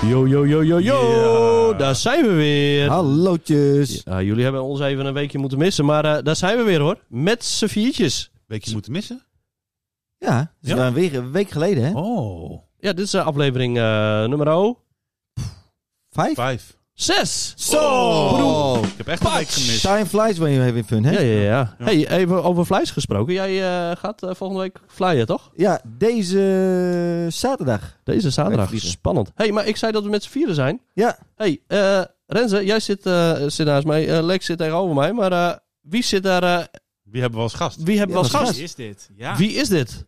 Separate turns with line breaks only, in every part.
Yo, yo, yo, yo, yo.
Ja.
Oh, Daar zijn we weer.
Hallootjes.
Ja, jullie hebben ons even een weekje moeten missen, maar eh, daar zijn we weer hoor. Met z'n viertjes.
Weekje moeten missen?
Ja, dat is
Ja.
wel een week, een week geleden, hè?
Oh,
Ja, dit is eh, aflevering eh nummer
Vijf?
vijf.
6.
Oh.
Ik heb echt een week gemist.
Time flies when you having fun, hè?
Ja,
Ja,
ja, ja.
Ja.
Hey, even over vlees gesproken. Jij eh, gaat eh, volgende week flyen, toch?
deze eh, zaterdag.
Deze zaterdag.
Vliegen.
Spannend. hey, maar ik zei dat we met z'n vieren zijn.
Ja,
hey, eh, Renze, jij zit, eh, zit naast mij. Eh, Lex zit tegenover mij. Maar eh, wie zit daar... eh,
Wie hebben we als gast?
wie hebben we als
dat
gast?
gast.
Wie is dit? Ja.
Wie is dit?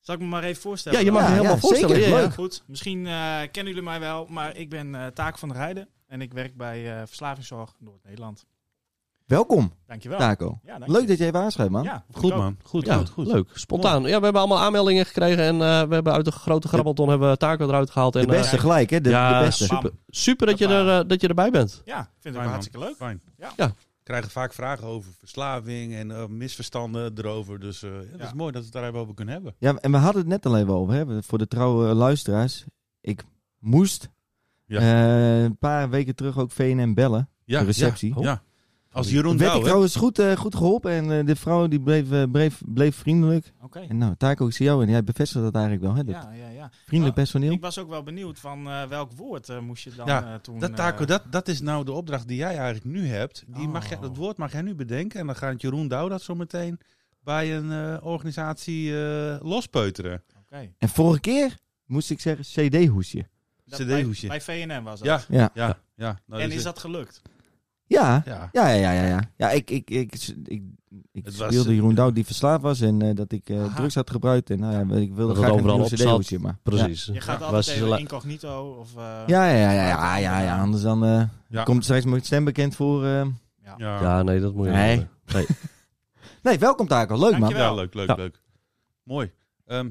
Zal ik me maar even voorstellen?
Ja, je mag
Ja,
je helemaal
ja,
voorstellen.
zeker.
Ja, ja.
Leuk.
Goed, misschien eh, kennen jullie mij wel, maar ik ben eh Taak van der Heijden en ik werk bij eh, Verslavingszorg Noord-Nederland.
welkom,
Dankjewel.
Taco.
Ja, dank
Leuk
je.
dat jij even aanschuift, man.
Ja,
Goed
ook.
man. Goed,
Ja,
goed, goed.
leuk. Spontaan. Ja, we hebben allemaal aanmeldingen gekregen en eh, we hebben uit de grote grabbelton hebben we taco eruit gehaald. En,
De beste
eh,
gelijk, hè? De,
ja,
de beste.
Super, super dat, je er, eh, dat je erbij bent.
Ja, ik vind het
Fijn,
wel
man.
hartstikke leuk.
Fijn.
Ja.
Ja.
We krijgen vaak vragen over verslaving en eh, misverstanden erover. Dus eh, ja, dat is
Ja.
mooi dat we het daar even over kunnen hebben.
Ja, en we hadden het net al even over, hè? Voor de trouwe eh, luisteraars. Ik moest
Ja.
eh, een paar weken terug ook VNM bellen.
Ja,
de receptie.
Ja, ja. Als
Toen
Jeroen
werd ik
Douw, nou, hè?
trouwens goed, eh, goed geholpen en eh, de vrouw die bleef, eh, bleef, bleef vriendelijk.
Oké.
En nou, Taco, ik zie jou en jij bevestigt dat eigenlijk wel, hè? Dat
Ja, ja, ja.
Vriendelijk personeel.
Ik was ook wel benieuwd van eh, welk woord eh, moest je dan
Ja,
eh, toen...
Dat, Taco,
eh,
dat, dat is nou de opdracht die jij eigenlijk nu hebt. Die mag jij,
Oh.
dat woord mag jij nu bedenken. En dan gaat Jeroen Douw dat zo meteen bij een eh, organisatie eh, lospeuteren.
oké.
En vorige keer moest ik zeggen CD-hoesje.
Dat
CD-hoesje.
Bij, bij VNM was dat.
Ja,
Ja.
ja, ja. Nou,
En
dus
is
het-
dat gelukt?
Ja.
Ja.
Ja, ja, ja, ja. ja. ja ik, ik, ik, ik, ik
Het was-
speelde Jeroen Douw die verslaafd was en eh, dat ik eh,
Aha.
drugs had gebruikt. En nou ja, ik wilde
Dat het
graag een
overal
nieuw
op
cd-hoesje, maar...
Precies.
Je gaat
Ja.
altijd
Was-
even incognito of... eh,
Ja, ja, ja, ja, ja, ja, ja, anders dan eh,
Ja.
komt straks mijn stem bekend voor... eh,
Ja.
Ja, nee, dat moet je
Nee.
niet doen.
Nee, welkom Taco, leuk man.
Dankjewel.
Ja, leuk, leuk,
Ja.
leuk. Mooi. Ehm,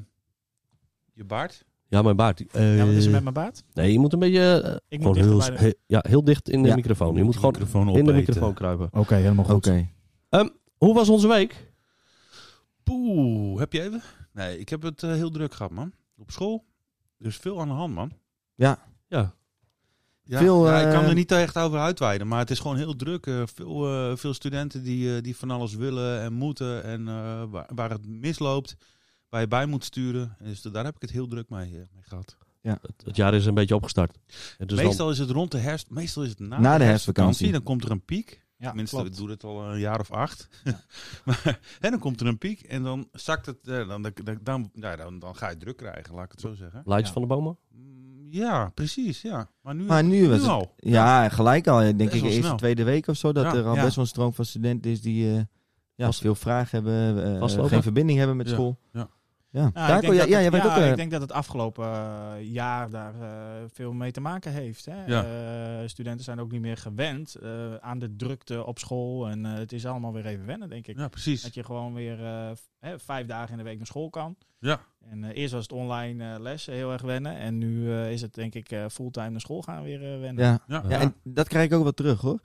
je baard?
Ja, mijn baard. eh,
Ja, wat is er met mijn baard?
Nee, je moet een beetje... eh,
Ik
gewoon
moet
heel,
dichterbij
he- ja, heel dicht in de
Ja.
microfoon. Je Oh, moet gewoon
microfoon
in de
opeten.
microfoon kruipen.
Oké, helemaal
Oké.
Hoe was onze week?
Poeh, heb je even? Nee, ik heb het eh, heel druk gehad, man. Op school. Er is veel aan de hand, man.
Ja.
Ja,
Veel,
ja, ik kan
eh,
er niet echt over uitweiden, maar het is gewoon heel druk. Eh, veel, eh, veel studenten die, eh, die van alles willen en moeten en eh, waar, waar het misloopt, waar je bij moet sturen. Dus daar heb ik het heel druk mee, eh, mee gehad.
Het, het jaar is een beetje opgestart. En dus dan-
meestal is het rond de herfst, meestal is het na,
Na de
herfstvakantie.
herfstvakantie.
Dan komt er een piek.
Ja,
Tenminste,
klopt.
ik doe het al een jaar of acht. maar, en dan komt er een piek en dan zakt het. eh, Dan, dan, dan, dan, ja, dan, dan ga je druk krijgen, laat ik het zo zeggen.
Lights
Ja.
van de bomen.
Mm, Ja, precies. Ja. Maar nu,
Maar nu was
nu
het...
al.
Ja, gelijk al, denk
Best
ik,
wel
eerst de
snel.
tweede week of zo, dat
Ja,
er al
ja.
best wel een stroom van studenten is die... eh, ja,
Vast-
veel vragen hebben, eh,
Vastlopen.
geen verbinding hebben met
Ja,
school.
ja.
Ja,
Nou, ik
Taco,
denk
ja,
dat
ja,
het-
jij bent ook...
ja,
eh,
ik denk dat het afgelopen eh, jaar daar eh, veel mee te maken heeft. Hè?
Ja.
Eh, studenten zijn ook niet meer gewend eh, aan de drukte op school. En eh, het is allemaal weer even wennen, denk ik.
Ja, precies.
Dat je gewoon weer eh, v- hè, vijf dagen in de week naar school kan.
Ja.
En eh, eerst was het online eh, lessen heel erg wennen. En nu eh, is het denk ik eh, fulltime naar school gaan weer eh, wennen.
ja.
Ja,
Ja,
ja.
en dat krijg ik ook wel terug hoor.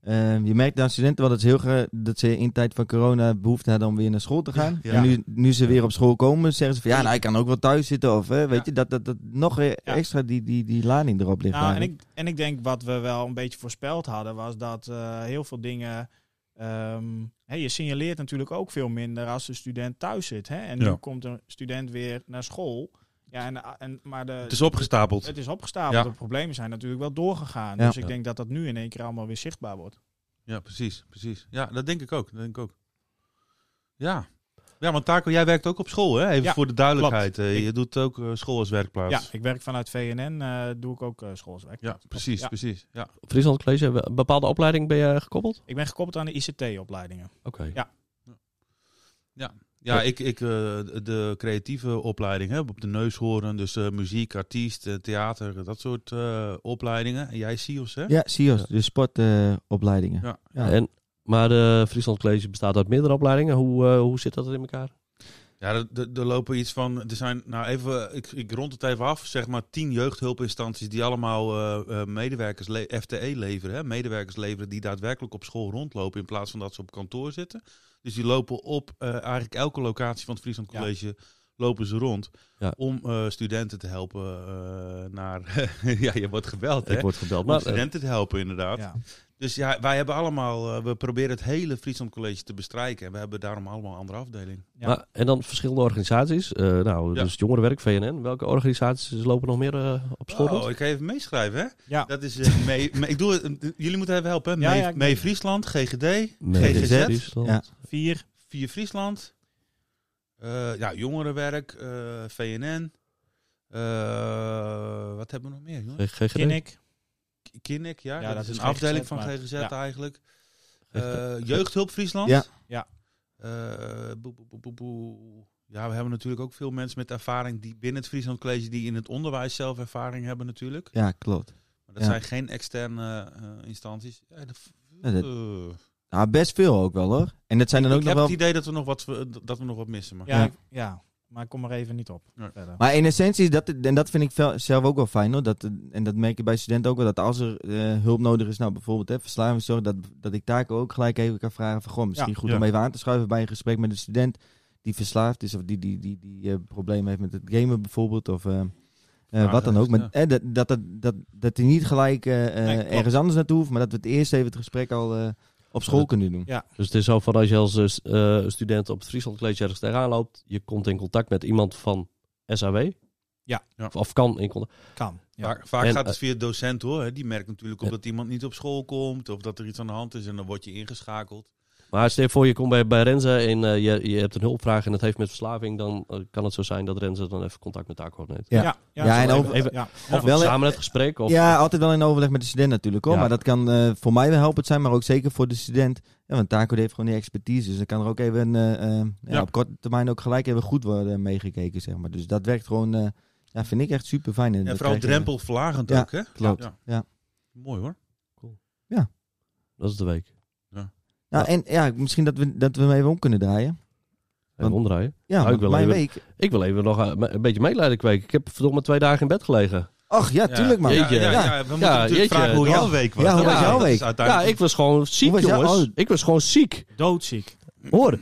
Ehm, je merkt aan studenten wel dat ze, heel graag, dat ze in tijd van corona behoefte hadden om weer naar school te gaan.
Ja.
En nu, nu ze weer op school komen, zeggen ze van ja, nou ik kan ook wel thuis zitten. Of hè, weet
Ja.
je, dat, dat, dat nog eh, extra die, die, die lading erop ligt.
Nou, en,
eigenlijk.
ik, en ik denk wat we wel een beetje voorspeld hadden, was dat eh, heel veel dingen. ehm, hè, je signaleert natuurlijk ook veel minder als de student thuis zit. Hè? En
Ja.
nu komt een student weer naar school. Ja, en, en, maar de,
Het is opgestapeld.
het is opgestapeld.
Ja.
De problemen zijn natuurlijk wel doorgegaan.
Ja.
Dus ik
Ja.
denk dat dat nu in één keer allemaal weer zichtbaar wordt.
Ja, precies. precies. Ja, dat denk ik ook. Dat denk ik ook. Ja. Ja, want Taco, jij werkt ook op school, hè? Even
Ja,
voor de duidelijkheid.
klopt.
Eh,
Ik-
je doet ook eh, school als werkplaats.
Ja, ik werk vanuit VNN, eh, doe ik ook eh schoolswerk.
Ja, precies,
Ja.
precies. Ja.
Friesland College, een bepaalde opleiding ben je gekoppeld?
Ik ben gekoppeld aan de ICT-opleidingen.
Oké.
Ja,
Ja.
ik, ik eh, de creatieve opleiding heb op de neus horen. Dus eh, muziek, artiest, eh, theater, dat soort eh, opleidingen. En jij CIO's, hè?
Ja, CIO's, de sportopleidingen.
Ja.
Ja.
En, maar de Friesland College bestaat uit meerdere opleidingen. Hoe, eh, hoe zit dat in elkaar?
Ja, er- er er lopen iets van. Er zijn, nou even, ik, ik rond het even af, zeg maar tien jeugdhulpinstanties die allemaal eh, eh, medewerkers, le- FTE leveren. Hè? Medewerkers leveren die daadwerkelijk op school rondlopen in plaats van dat ze op kantoor zitten. Dus die lopen op eh, eigenlijk elke locatie van het Friesland
Ja.
College. lopen ze rond
Ja.
om eh, studenten te helpen eh, naar... ja, je wordt gebeld, hè?
Ik word gebeld.
Om
Maar, eh,
studenten te helpen, inderdaad.
Ja.
Dus ja, wij hebben allemaal... eh, we proberen het hele Friesland College te bestrijken. En we hebben daarom allemaal een andere afdeling.
Ja.
maar- en dan verschillende organisaties. Eh, nou,
Ja.
dus jongerenwerk, VNN. Welke organisaties lopen nog meer eh, op school? rond?
Oh, ik ga even meeschrijven, hè?
Ja.
Dat is... eh, mee, mee- ik doe het, eh, jullie moeten even helpen, hè?
Ja,
mee,
ja, ik-
mee Friesland, GGD,
Nee,
GGZ.
dit is dan-
Ja.
Vier.
Vier Friesland. Eh, ja, jongerenwerk, eh, VNN. Eh, wat hebben we nog meer? jongens?
GGD.
Kinnik.
Kinnik, ja.
Ja,
dat,
dat
is
is
een afdeling
GGZ,
van
maar-
GGZ
ja.
eigenlijk.
GGD.
Eh, Jeugdhulp Friesland.
Ja.
Ja.
Eh, boe, boe, boe, boe, boe. Ja, we hebben natuurlijk ook veel mensen met ervaring die binnen het Friesland College, die in het onderwijs zelf ervaring hebben natuurlijk.
Ja, klopt.
Maar dat
Ja.
zijn geen externe eh, instanties. Ja, dat-
Ja, dat-
eh,
Nou, best veel ook wel hoor. En dat zijn dan ook
ik
nog
heb
wel...
het idee dat we nog wat, dat we nog wat missen. Maar.
Ja,
Ja.
ik- ja, maar ik kom er even niet op.
Nee.
Verder.
Maar in essentie, is dat, en dat vind ik vel- zelf ook wel fijn hoor. Dat, eh, en dat merk je bij studenten ook wel. Dat als er eh, hulp nodig is, nou bijvoorbeeld hè, verslavingszorg, dat, dat ik daar ook gelijk even kan vragen van... Goh, misschien
Ja,
goed
ja.
om even aan te schuiven bij een gesprek met een student die verslaafd is. Of die, die, die, die eh, problemen heeft met het gamen bijvoorbeeld. Of eh, eh, wat dan
heeft,
ook. Maar,
ja.
eh, dat, dat, dat, dat, dat hij niet gelijk eh, eh,
Nee, klopt.
ergens anders naartoe hoeft. Maar dat we het eerst even het gesprek al eh, op school
Dat-
kunnen doen.
Ja.
Dus het is zo van als je als eh, s- eh, student op het Friesland College ergens tegenaan loopt, je komt in contact met iemand van SAW.
Ja.
Ja.
Of, of kan in contact.
Kan. Ja.
Vaak, vaak
En,
gaat het
eh,
via docent hoor. hè. Die merkt natuurlijk op
Ja.
dat iemand niet op school komt of dat er iets aan de hand is en dan word je ingeschakeld.
Maar stel je voor, je komt bij, bij Renze en eh, je, je hebt een hulpvraag en het heeft met verslaving, dan eh, kan het zo zijn dat Renze dan even contact met haar neemt.
Ja. Ja,
zo
en
even-
over-
even-
ja.
Of
Ja.
Wel, eh,
samen het gesprek. Of,
Ja, altijd wel in overleg met de student natuurlijk hoor.
Ja.
Maar dat kan eh, voor mij wel helpend zijn, maar ook zeker voor de student. Ja, want Taco die heeft gewoon die expertise. Dus dan kan er ook even eh, eh, ja,
Ja.
op korte termijn ook gelijk even goed worden meegekeken, zeg maar. Dus dat werkt gewoon, eh, ja, vind ik echt super fijn.
En vooral drempelverlagend
Ja,
ook, hè?
klopt,
Ja.
ja.
Mooi hoor.
Dat is de week.
Nou, en ja, misschien dat we, dat we hem even om kunnen draaien.
Even
Want-
omdraaien.
Ja,
Nou,
want
ik wil
mijn
even-
week.
Ik wil even nog eh, me- een beetje medelijden kweken. Ik heb verdomme twee dagen in bed gelegen.
Ach ja, tuurlijk maar.
Ja,
Jeetje.
ja, ja,
Ja.
we moeten
Ja,
natuurlijk
jeetje.
vragen hoe
Ja.
jouw week was.
Ja, hoe
was jouw
dat is
week?
Ja,
uiteindelijk-
ik was gewoon ziek,
Hoe was jou-
jongens.
oh.
Ik was gewoon ziek.
Doodziek.
Hoor.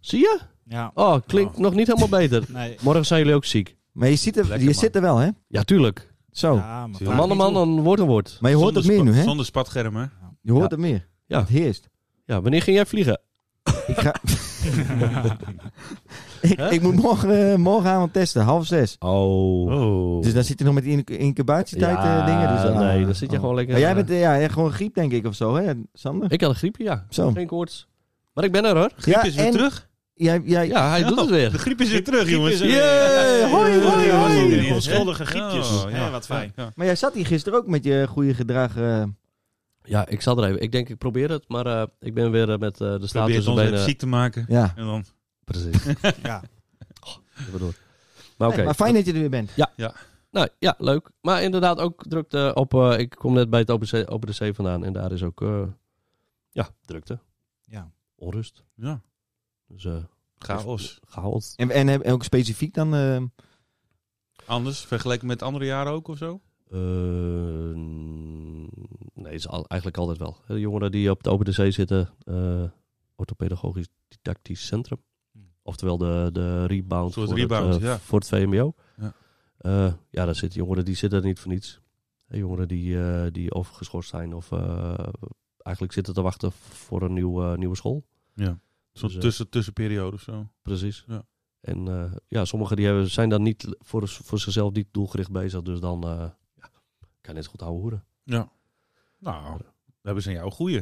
Zie je?
Ja.
Oh, klinkt
Nou.
nog niet helemaal beter.
Nee.
Morgen zijn jullie ook ziek.
Maar je, ziet er,
Lekker,
je
man.
zit er wel, hè?
Ja, tuurlijk.
Zo.
Ja, maar
Een
Een
vaak
man, een
niet
man, een woord, een woord.
Maar je hoort
Zonder
het meer
spa-
nu, hè?
Zonder spatschermen.
Je hoort
Ja.
het meer.
Ja.
Het heerst.
Ja, wanneer ging jij vliegen?
Ik, ga... ik, ik moet morgen, eh, morgenavond testen, half zes.
Oh.
Dus dan zit je nog met die inc- incubatietijd
Ja,
eh, dingen. Dus, ah,
nee, dan zit je
oh.
gewoon lekker,
Maar jij
eh,
bent eh, ja, ja, gewoon griep, denk ik, of zo, hè, Sander?
Ik had een griepje, ja.
Zo.
Geen koorts. Maar ik ben er hoor.
Griep
Ja,
is weer
en-
terug.
Jij, jij,
Ja, hij doet het
De
weer.
griep is weer terug, jongens.
is er weer.
Yeah, hoi, hoi,
Ja,
hoi.
die Onschuldige griepjes.
Oh,
Hè, wat fijn.
Ja.
Maar jij zat hier gisteren ook met je goede gedrag. eh,
Ja, ik zat er even. Ik denk, ik probeer het, maar eh, ik ben weer eh, met eh, de staat
Probeert
tussen
ons
de
even
benen.
ziek te maken.
ja.
En dan,
Precies.
Ja.
Even door. Maar oké.
Nee, maar fijn dat je er weer bent.
Nou ja, leuk. Maar inderdaad ook drukte op. eh, ik kom net bij het Open, Zee- Open de Zee vandaan en daar is ook eh, ja, drukte,
Ja.
onrust.
ja, Dus
Dus eh
chaos.
chaos.
En, en, heb- en ook specifiek dan. eh,
Anders, vergeleken met andere jaren ook of zo?
Eh, mm, nee, is al- eigenlijk altijd wel. De jongeren die op de Open de Zee zitten, eh, orthopedagogisch didactisch centrum.
Hmm.
Oftewel de, de rebound,
Een soort
voor,
rebound,
het, eh,
ja.
voor het VMBO.
Ja.
Eh, ja, daar zitten jongeren die zitten er niet voor niets. Eh, jongeren die, eh, die of geschorst zijn of eh, eigenlijk zitten te wachten voor een nieuw, eh, nieuwe school.
Zo'n
Dus, eh,
tussen, tussenperiode of zo.
Precies.
Ja.
En eh, ja, sommigen die hebben, zijn dan niet voor, voor zichzelf niet doelgericht bezig. Dus dan eh, ja, kan je net zo goed ouwe hoeren.
Ja. Nou, hebben ze aan jou goeie.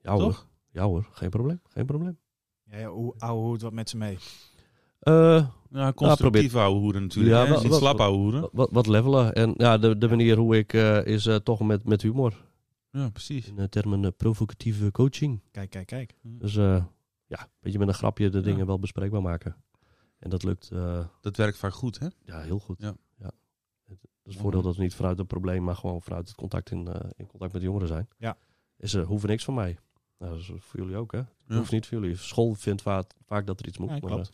Ja hoor.
Toch?
Ja hoor, geen probleem. Geen probleem.
Ja, ja, hoe ouwe hoed wat met ze mee.
Eh,
Ja, constructief ouwe hoeren natuurlijk.
Ja,
Ja,
wel-
niet
wel-
slap ouwe hoeren.
wa- wat, wat levelen. En ja, de, de manier hoe ik eh, is eh, toch met, met humor.
Ja, precies.
In eh, termen eh, provocatieve coaching.
Kijk, kijk, kijk.
Dus eh, ja, een beetje met een grapje de
Ja.
dingen wel bespreekbaar maken. En dat lukt eh,
Dat werkt vaak goed, hè?
ja, heel goed.
Ja.
Het, het is het voordeel dat we niet vanuit het probleem, maar gewoon vanuit het contact in, eh, in contact met de jongeren zijn.
Ja.
En ze hoeven niks van mij. Nou, dat is voor jullie ook, hè? Hoeft niet voor jullie. School vindt vaak, vaak dat er iets moet.
Ja,
maar, eh,
klopt.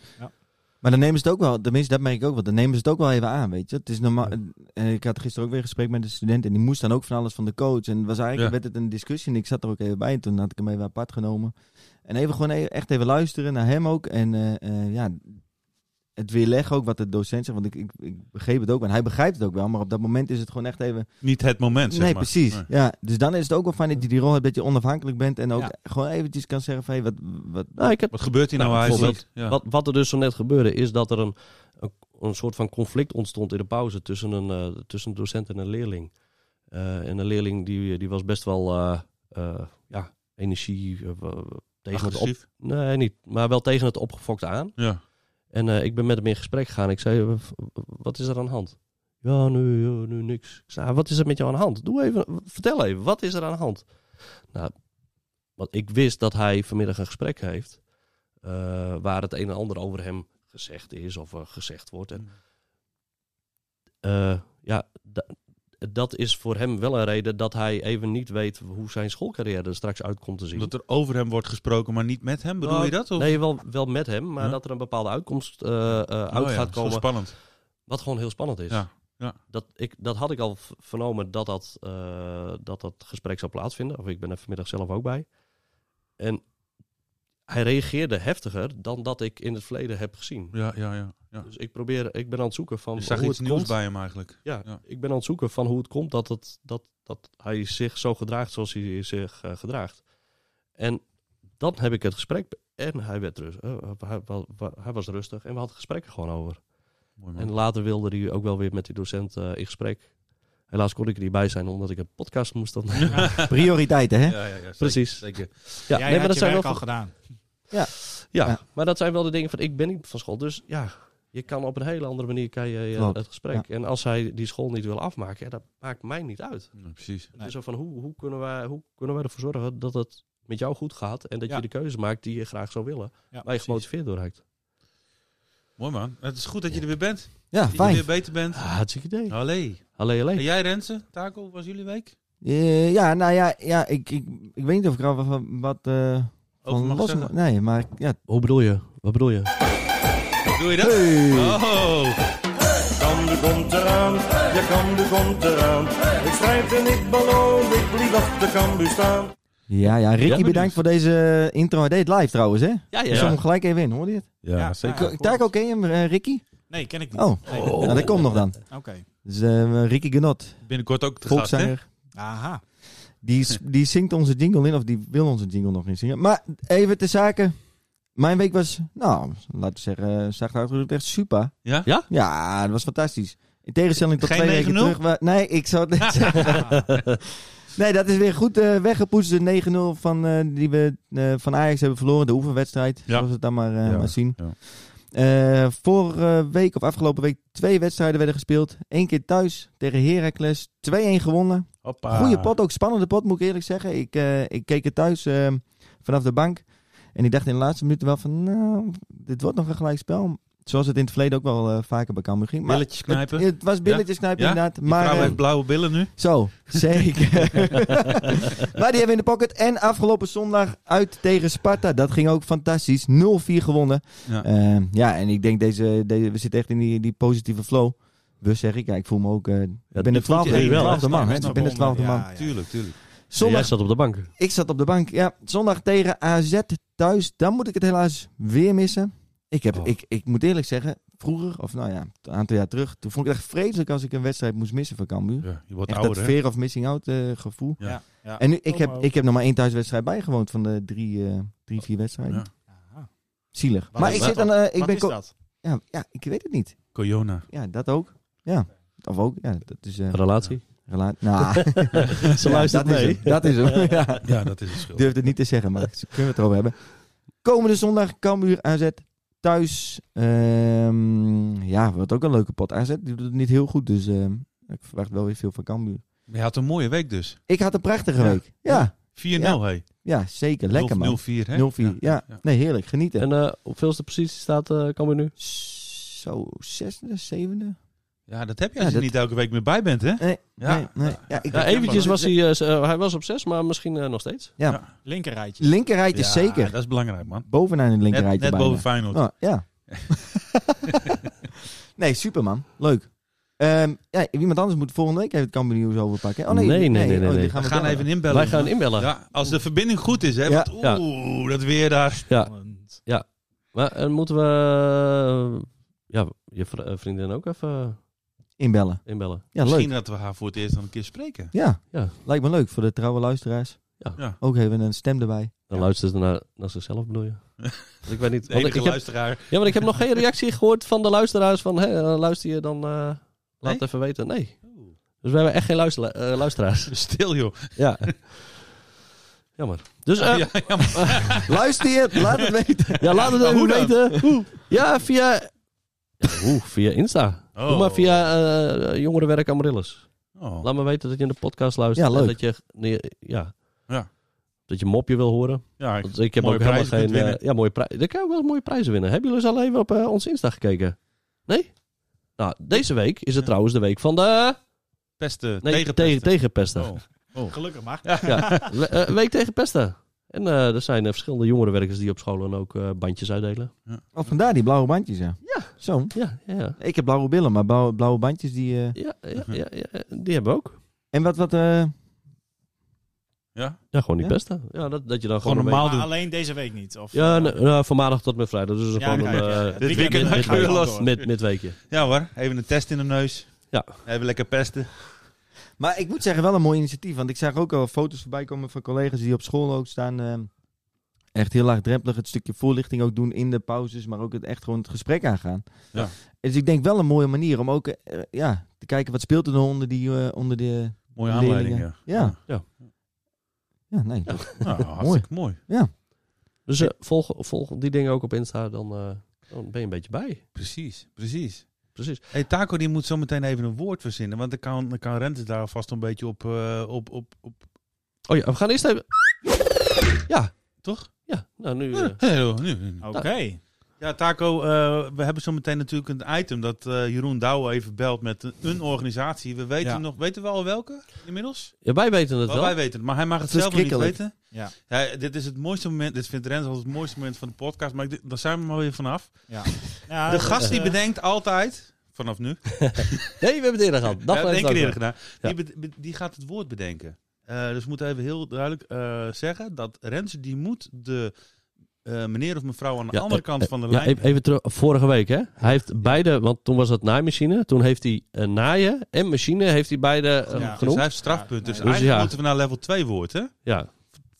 Maar dan nemen ze het ook wel, tenminste, dat merk ik ook wel. Dan nemen ze het ook wel even aan, weet je. Het is normaal.
Ja.
eh, ik had gisteren ook weer een gesprek met een student. En die moest dan ook van alles van de coach. En was eigenlijk
Ja.
werd het een discussie. En ik zat er ook even bij. En toen had ik hem even apart genomen. En even gewoon e- echt even luisteren naar hem ook. En eh, eh, ja, het weerleggen ook wat de docent zegt. Want ik, ik, ik begreep het ook. En hij begrijpt het ook wel. Maar op dat moment is het gewoon echt even...
Niet het moment, zeg
nee,
maar.
precies.
Nee.
Ja, dus dan is het ook wel fijn dat je die rol hebt. Dat je onafhankelijk bent. En ook
Ja.
gewoon eventjes kan zeggen van... Hey, wat, wat,
Nou, ik heb
Wat gebeurt hier nou,
Nou,
eigenlijk? Ja.
Wat, wat er dus zo net gebeurde, is dat er een, een, een soort van conflict ontstond in de pauze tussen een, eh, tussen een docent en een leerling. Eh, en een leerling die, die was best wel eh, eh, ja, energie eh, wa- tegen het op.
Agressief?
Nee, niet. Maar wel tegen het opgefokt aan.
Ja.
En eh, ik ben met hem in gesprek gegaan. Ik zei: "W- w- Wat is er aan de hand? Ja, nu, ja, nu niks. Ik zei: "Ah, Wat is er met jou aan de hand? Doe even, vertel even, wat is er aan de hand? Nou, want ik wist dat hij vanmiddag een gesprek heeft. eh, waar het een en ander over hem gezegd is of eh, gezegd wordt. En, eh, ja, da- dat is voor hem wel een reden dat hij even niet weet hoe zijn schoolcarrière er straks uit komt te zien.
Dat er over hem wordt gesproken, maar niet met hem. Bedoel
Nou,
je dat? Of?
Nee, wel, wel met hem, maar
Ja.
dat er een bepaalde uitkomst eh, eh, uit
Oh ja,
gaat
dat is wel
komen.
spannend.
Wat gewoon heel spannend is.
Ja, ja.
Dat, ik, dat had ik al v- vernomen dat dat, eh, dat dat gesprek zou plaatsvinden. Of ik ben er vanmiddag zelf ook bij. En hij reageerde heftiger dan dat ik in het verleden heb gezien.
Ja, ja, ja. ja.
Dus ik, probeer, ik ben aan het zoeken van
Je zag
hoe
iets
het
nieuws
komt.
bij hem eigenlijk.
Ja,
Ja.
ik ben aan het zoeken van hoe het komt dat, het, dat, dat hij zich zo gedraagt zoals hij zich eh, gedraagt. En dan heb ik het gesprek. be- En hij, werd rust, eh, hij, wa- wa- hij was rustig en we hadden het gesprek er gewoon over.
Mooi man.
En later wilde hij ook wel weer met die docent eh, in gesprek. Helaas kon ik er niet bij zijn omdat ik een podcast moest dan.
prioriteiten, hè?
ja, ja, ja, zeker,
Precies.
Zeker.
Jij
ja, nee, maar
had
dat
je
zijn wel
werk al
van-
gedaan.
ja,
Ja.
maar dat zijn wel de dingen van ik ben niet van school. Dus ja, je kan op een hele andere manier kan je, eh,
Klopt,
het gesprek. En als hij die school niet wil afmaken, ja, dat maakt mij niet uit.
Ja, precies.
Het is zo van hoe, hoe, kunnen wij, hoe kunnen wij ervoor zorgen dat het met jou goed gaat en dat
Ja.
je de keuze maakt die je graag zou willen, waar
Ja,
je
precies.
gemotiveerd door raakt.
Mooi man. Het is goed dat je er weer bent.
Ja,
Dat je
Ah, fijn.
weer beter bent.
Ah, hartstikke idee.
Allee.
Allee,
En
allee.
jij Renze, Taco, hoe was jullie week?
Eh, ja, nou ja, ja ik, ik, ik weet niet of ik er al wat, wat eh,
Over
van
mag
los...
zeggen.
Nee, maar ja.
Hoe bedoel je? Wat bedoel je?
Doe je dat? Oh.
Kande komt eraan, de kande komt eraan. Ik strijd en ik beloon, ik blijf achter Cambuur staan.
Ja, ja, Ricky,
benieuwd.
bedankt voor deze intro. Hij deed het live trouwens, hè?
Ja,
Ik
ja.
zal hem gelijk even in, hoor je dit?
Ja, zeker.
Ko- Taco, ken je hem, eh, Ricky?
Nee, ken ik niet.
Oh,
Nee.
nou, dat komt nog dan.
Oké.
Dus eh, Ricky Genot,
nou, Binnenkort ook te gast, hè?
volkszanger.
Aha.
Die, s- die zingt onze jingle in, of die wil onze jingle nog niet zingen. Maar even ter zake. Mijn week was, nou, laten we zeggen, eh, zacht uitgedrukt echt super.
Ja?
Ja?
Ja, dat was fantastisch. In tegenstelling tot
Geen
twee weken
9-0?
terug. waar- nee, ik zou het net zeggen. Nee, dat is weer goed eh, weggepoetst. De 9-0 van, eh, die we eh, van Ajax hebben verloren. De oefenwedstrijd,
Ja.
zoals we het dan maar, eh,
Ja,
maar zien.
ja.
Eh, vorige week of afgelopen week twee wedstrijden werden gespeeld. Eén keer thuis tegen Heracles. 2-1 gewonnen.
Hoppa.
Goeie pot, ook spannende pot moet ik eerlijk zeggen. Ik, eh, ik keek het thuis eh, vanaf de bank. En ik dacht in de laatste minuten wel van, nou, dit wordt nog een gelijkspel. Zoals het in het verleden ook wel eh, vaker bij Cambuur ging. Maar
Billetjes knijpen.
Het, het was billetjes knijpen
Ja?
inderdaad.
Die
Maar
vrouw
eh,
heeft blauwe billen nu.
zo, zeker. maar die hebben we in de pocket. En afgelopen zondag uit tegen Sparta. Dat ging ook fantastisch. 0-4 gewonnen.
Ja.
Eh, ja, en ik denk deze, deze we zitten echt in die, die positieve flow. We zeg ik, ja, ik voel me ook. eh, ik ben
voelt
de
je
twaalfde,
echt
ik ben
wel,
de twaalfde
hè?
man. hè.
Snap
Ik ben de
ik.
twaalfde
Ja,
man.
ja.
Tuurlijk, tuurlijk.
Jij
Zondag,
zat op de bank.
ik zat op de bank. Ja, zondag tegen AZ thuis. Dan moet ik het helaas weer missen. Ik, heb,
Oh.
ik, ik moet eerlijk zeggen, vroeger, of nou ja, een aantal jaar terug, toen vond ik het echt vreselijk als ik een wedstrijd moest missen van Cambuur.
Ja, je wordt
Echt dat
ouder, hè?
fear of missing out eh, gevoel.
Ja.
Ja. ja.
En nu, ik
Oh,
heb,
oh.
ik heb nog maar één thuiswedstrijd bijgewoond van de drie, eh, drie vier wedstrijden.
Ja.
Aha.
Zielig.
Wat
maar
is
ik
dat
zit
dan?
dan, eh, ik
Wat
ben
is
co-
dat?
ja, ja, ik weet het niet.
Corona.
Ja, dat ook. Ja, of ook. Ja, dat is eh
Relatie.
rela- Nou,
Ze
ja,
luistert
dat
mee.
Is hem, dat is hem. ja.
Ja, dat is het schuld.
Ik durfde het niet te zeggen, maar ze kunnen we het erover hebben. Komende zondag Cambuur AZ thuis. Ehm, ja, wordt ook een leuke pot. AZ die doet het niet heel goed, dus ehm, ik verwacht wel weer veel van Cambuur.
Maar Je had een mooie week dus. 4-0,
Ik had een prachtige
Ja.
week. Ja,
hey.
ja zeker. Lekker man.
0-4, hè?
0-4. Ja, nee, heerlijk. Genieten.
En eh, op veelste positie staat eh Cambuur nu?
Zo, zesde, zevende?
Ja, dat heb je
Ja,
als je
dat-
niet elke week meer bij bent, hè?
Nee,
Ja.
nee, nee. Ja, ik
Ja, eventjes was hij, eh, z- eh, hij was op zes, maar misschien eh, nog steeds.
Linkerrijtje.
Linkerrijtje
Ja,
zeker.
Ah, Dat is belangrijk, man.
Bovenaan het
Net,
linkerrijtje
net
bijna.
boven Feyenoord.
Oh, ja. nee, superman. Leuk. Ehm, ja, iemand anders moet volgende week even het kampioen overpakken. Oh nee,
Nee, nee, nee, nee,
oh, die
nee.
gaan
Nou, we
we
gaan
bellen.
even inbellen.
Wij gaan inbellen. Ja.
Ja, als de verbinding goed is, hè?
Ja.
want Oeh, dat weer daar.
Maar eh, moeten we... eh, ja, je vr- eh, vriendin ook even
Inbellen.
inbellen.
Ja, leuk.
Misschien dat we haar voor het eerst dan een keer spreken.
Ja.
Ja.
lijkt me leuk voor de trouwe luisteraars.
Ja.
Ja.
Ook even een stem erbij.
Dan luistert ze naar, naar zichzelf, bedoel je? Want ik weet niet.
De
want
enige
ik heb,
luisteraar.
ja, maar ik heb nog geen reactie gehoord van de luisteraars van, hé, eh, luister je dan, eh, laat het even weten. Nee. Dus we hebben echt geen luistera- eh, luisteraars.
Stil joh.
ja. Jammer. Dus eh, ja.
ja, ja, maar-
Luister je het? Laat het weten.
laat het
maar
even
hoe dan?
weten. Ja, via... Ja, Oeh, via Insta.
Oh.
Doe maar via eh, Jongerenwerk Amarillus.
Oh.
Laat me weten dat je in de podcast luistert.
Ja, leuk.
En dat je, nee, ja,
Ja.
dat je een mopje wil horen.
Ja, ik-
Want ik heb
mooie
ook helemaal
prijzen kunt
geen... eh,
winnen.
ja, mooie prijzen. Daar kan je ook wel mooie prijzen winnen. Hebben jullie eens al even op eh, ons Insta gekeken? Nee? Nou, deze week is het
Ja.
trouwens de week van de...
pesten.
Nee,
tegen
tegen,
pesten.
tegenpesten.
Oh.
Gelukkig maar.
Ja, we- eh, week tegen pesten. En eh, er zijn eh, verschillende jongerenwerkers die op scholen ook eh, bandjes uitdelen.
Oh, vandaar die blauwe bandjes, ja.
Ja.
Zo.
Ja, ja, ja.
Ik heb blauwe billen, maar blauwe, blauwe bandjes die... eh,
ja, ja, ja, ja, die hebben we ook.
En wat, wat... eh,
Ja?
Ja, gewoon die
Ja?
pesten. Ja, dat, dat je dan
Gewoon
gewoon... een
normaal
Maar
doen.
alleen deze week niet. Of,
week- Ja,
eh,
nou, nou, van maandag tot met vrijdag. Dus
ja,
gewoon
kijk,
een...
ja,
eh,
ja.
dit weekend
mid-
heb je
midweek-
last.
mid- midweekje.
Ja hoor, even een test in de neus.
Ja.
Even lekker pesten.
Maar ik moet zeggen, wel een mooi initiatief. Want ik zag ook al foto's voorbij komen van collega's die op school ook staan. eh, echt heel laagdrempelig het stukje voorlichting ook doen in de pauzes. Maar ook het, echt gewoon het gesprek aangaan.
Ja.
Dus ik denk wel een mooie manier om ook eh, ja, te kijken wat speelt er nou onder die... eh, onder de,
Mooie
Leerlingen.
aanleiding. Ja.
Ja.
Ja.
ja, nee.
Ja.
Nou, hartstikke mooi.
Dus eh, volg, volg die dingen ook op Insta, dan, eh, dan ben je een beetje bij.
Precies, precies.
Precies.
Hey, Taco die moet zo meteen even een woord verzinnen, want dan kan, dan kan Rente daar vast een beetje op, eh, op, op, op
Oh ja, we gaan eerst even... Ja,
toch?
ja. Nou, nu... eh,
Hey, nu, nu.
Oké.
Nou.
Ja, Taco, eh, we hebben zo meteen natuurlijk een item dat eh, Jeroen Douwe even belt met een, een organisatie. We weten
Ja.
nog, weten we al welke inmiddels?
ja, wij weten het
Oh,
wel.
wij weten het, maar hij mag het
Dat is
zelf nog niet
krikkelijk.
weten.
Ja.
Ja, dit is het mooiste moment, dit vindt Rens als het mooiste moment van de podcast, maar ik d- daar zijn we maar weer vanaf.
Ja,
De
dat,
gast die
eh,
bedenkt altijd, vanaf nu,
Nee, we hebben het eerder gehad. Dat
Ja,
was
één
het
keer
ook
eerder gedaan.
Ja.
Die, be- die gaat het woord bedenken. Eh, dus we moeten even heel duidelijk eh, zeggen dat Rens die moet de eh, meneer of mevrouw aan de
Ja,
andere
eh,
kant van de
Ja,
lijn.
even, even terug. Vorige week, hè? Hij heeft beide, want toen was het naaimachine. Toen heeft hij eh, naaien en machine heeft hij beide eh,
Ja.
dus hij
genoemd.
heeft strafpunt. Dus
Ja,
nee.
eigenlijk
Dus ja.
moeten we naar level 2 woord, hè?
Ja,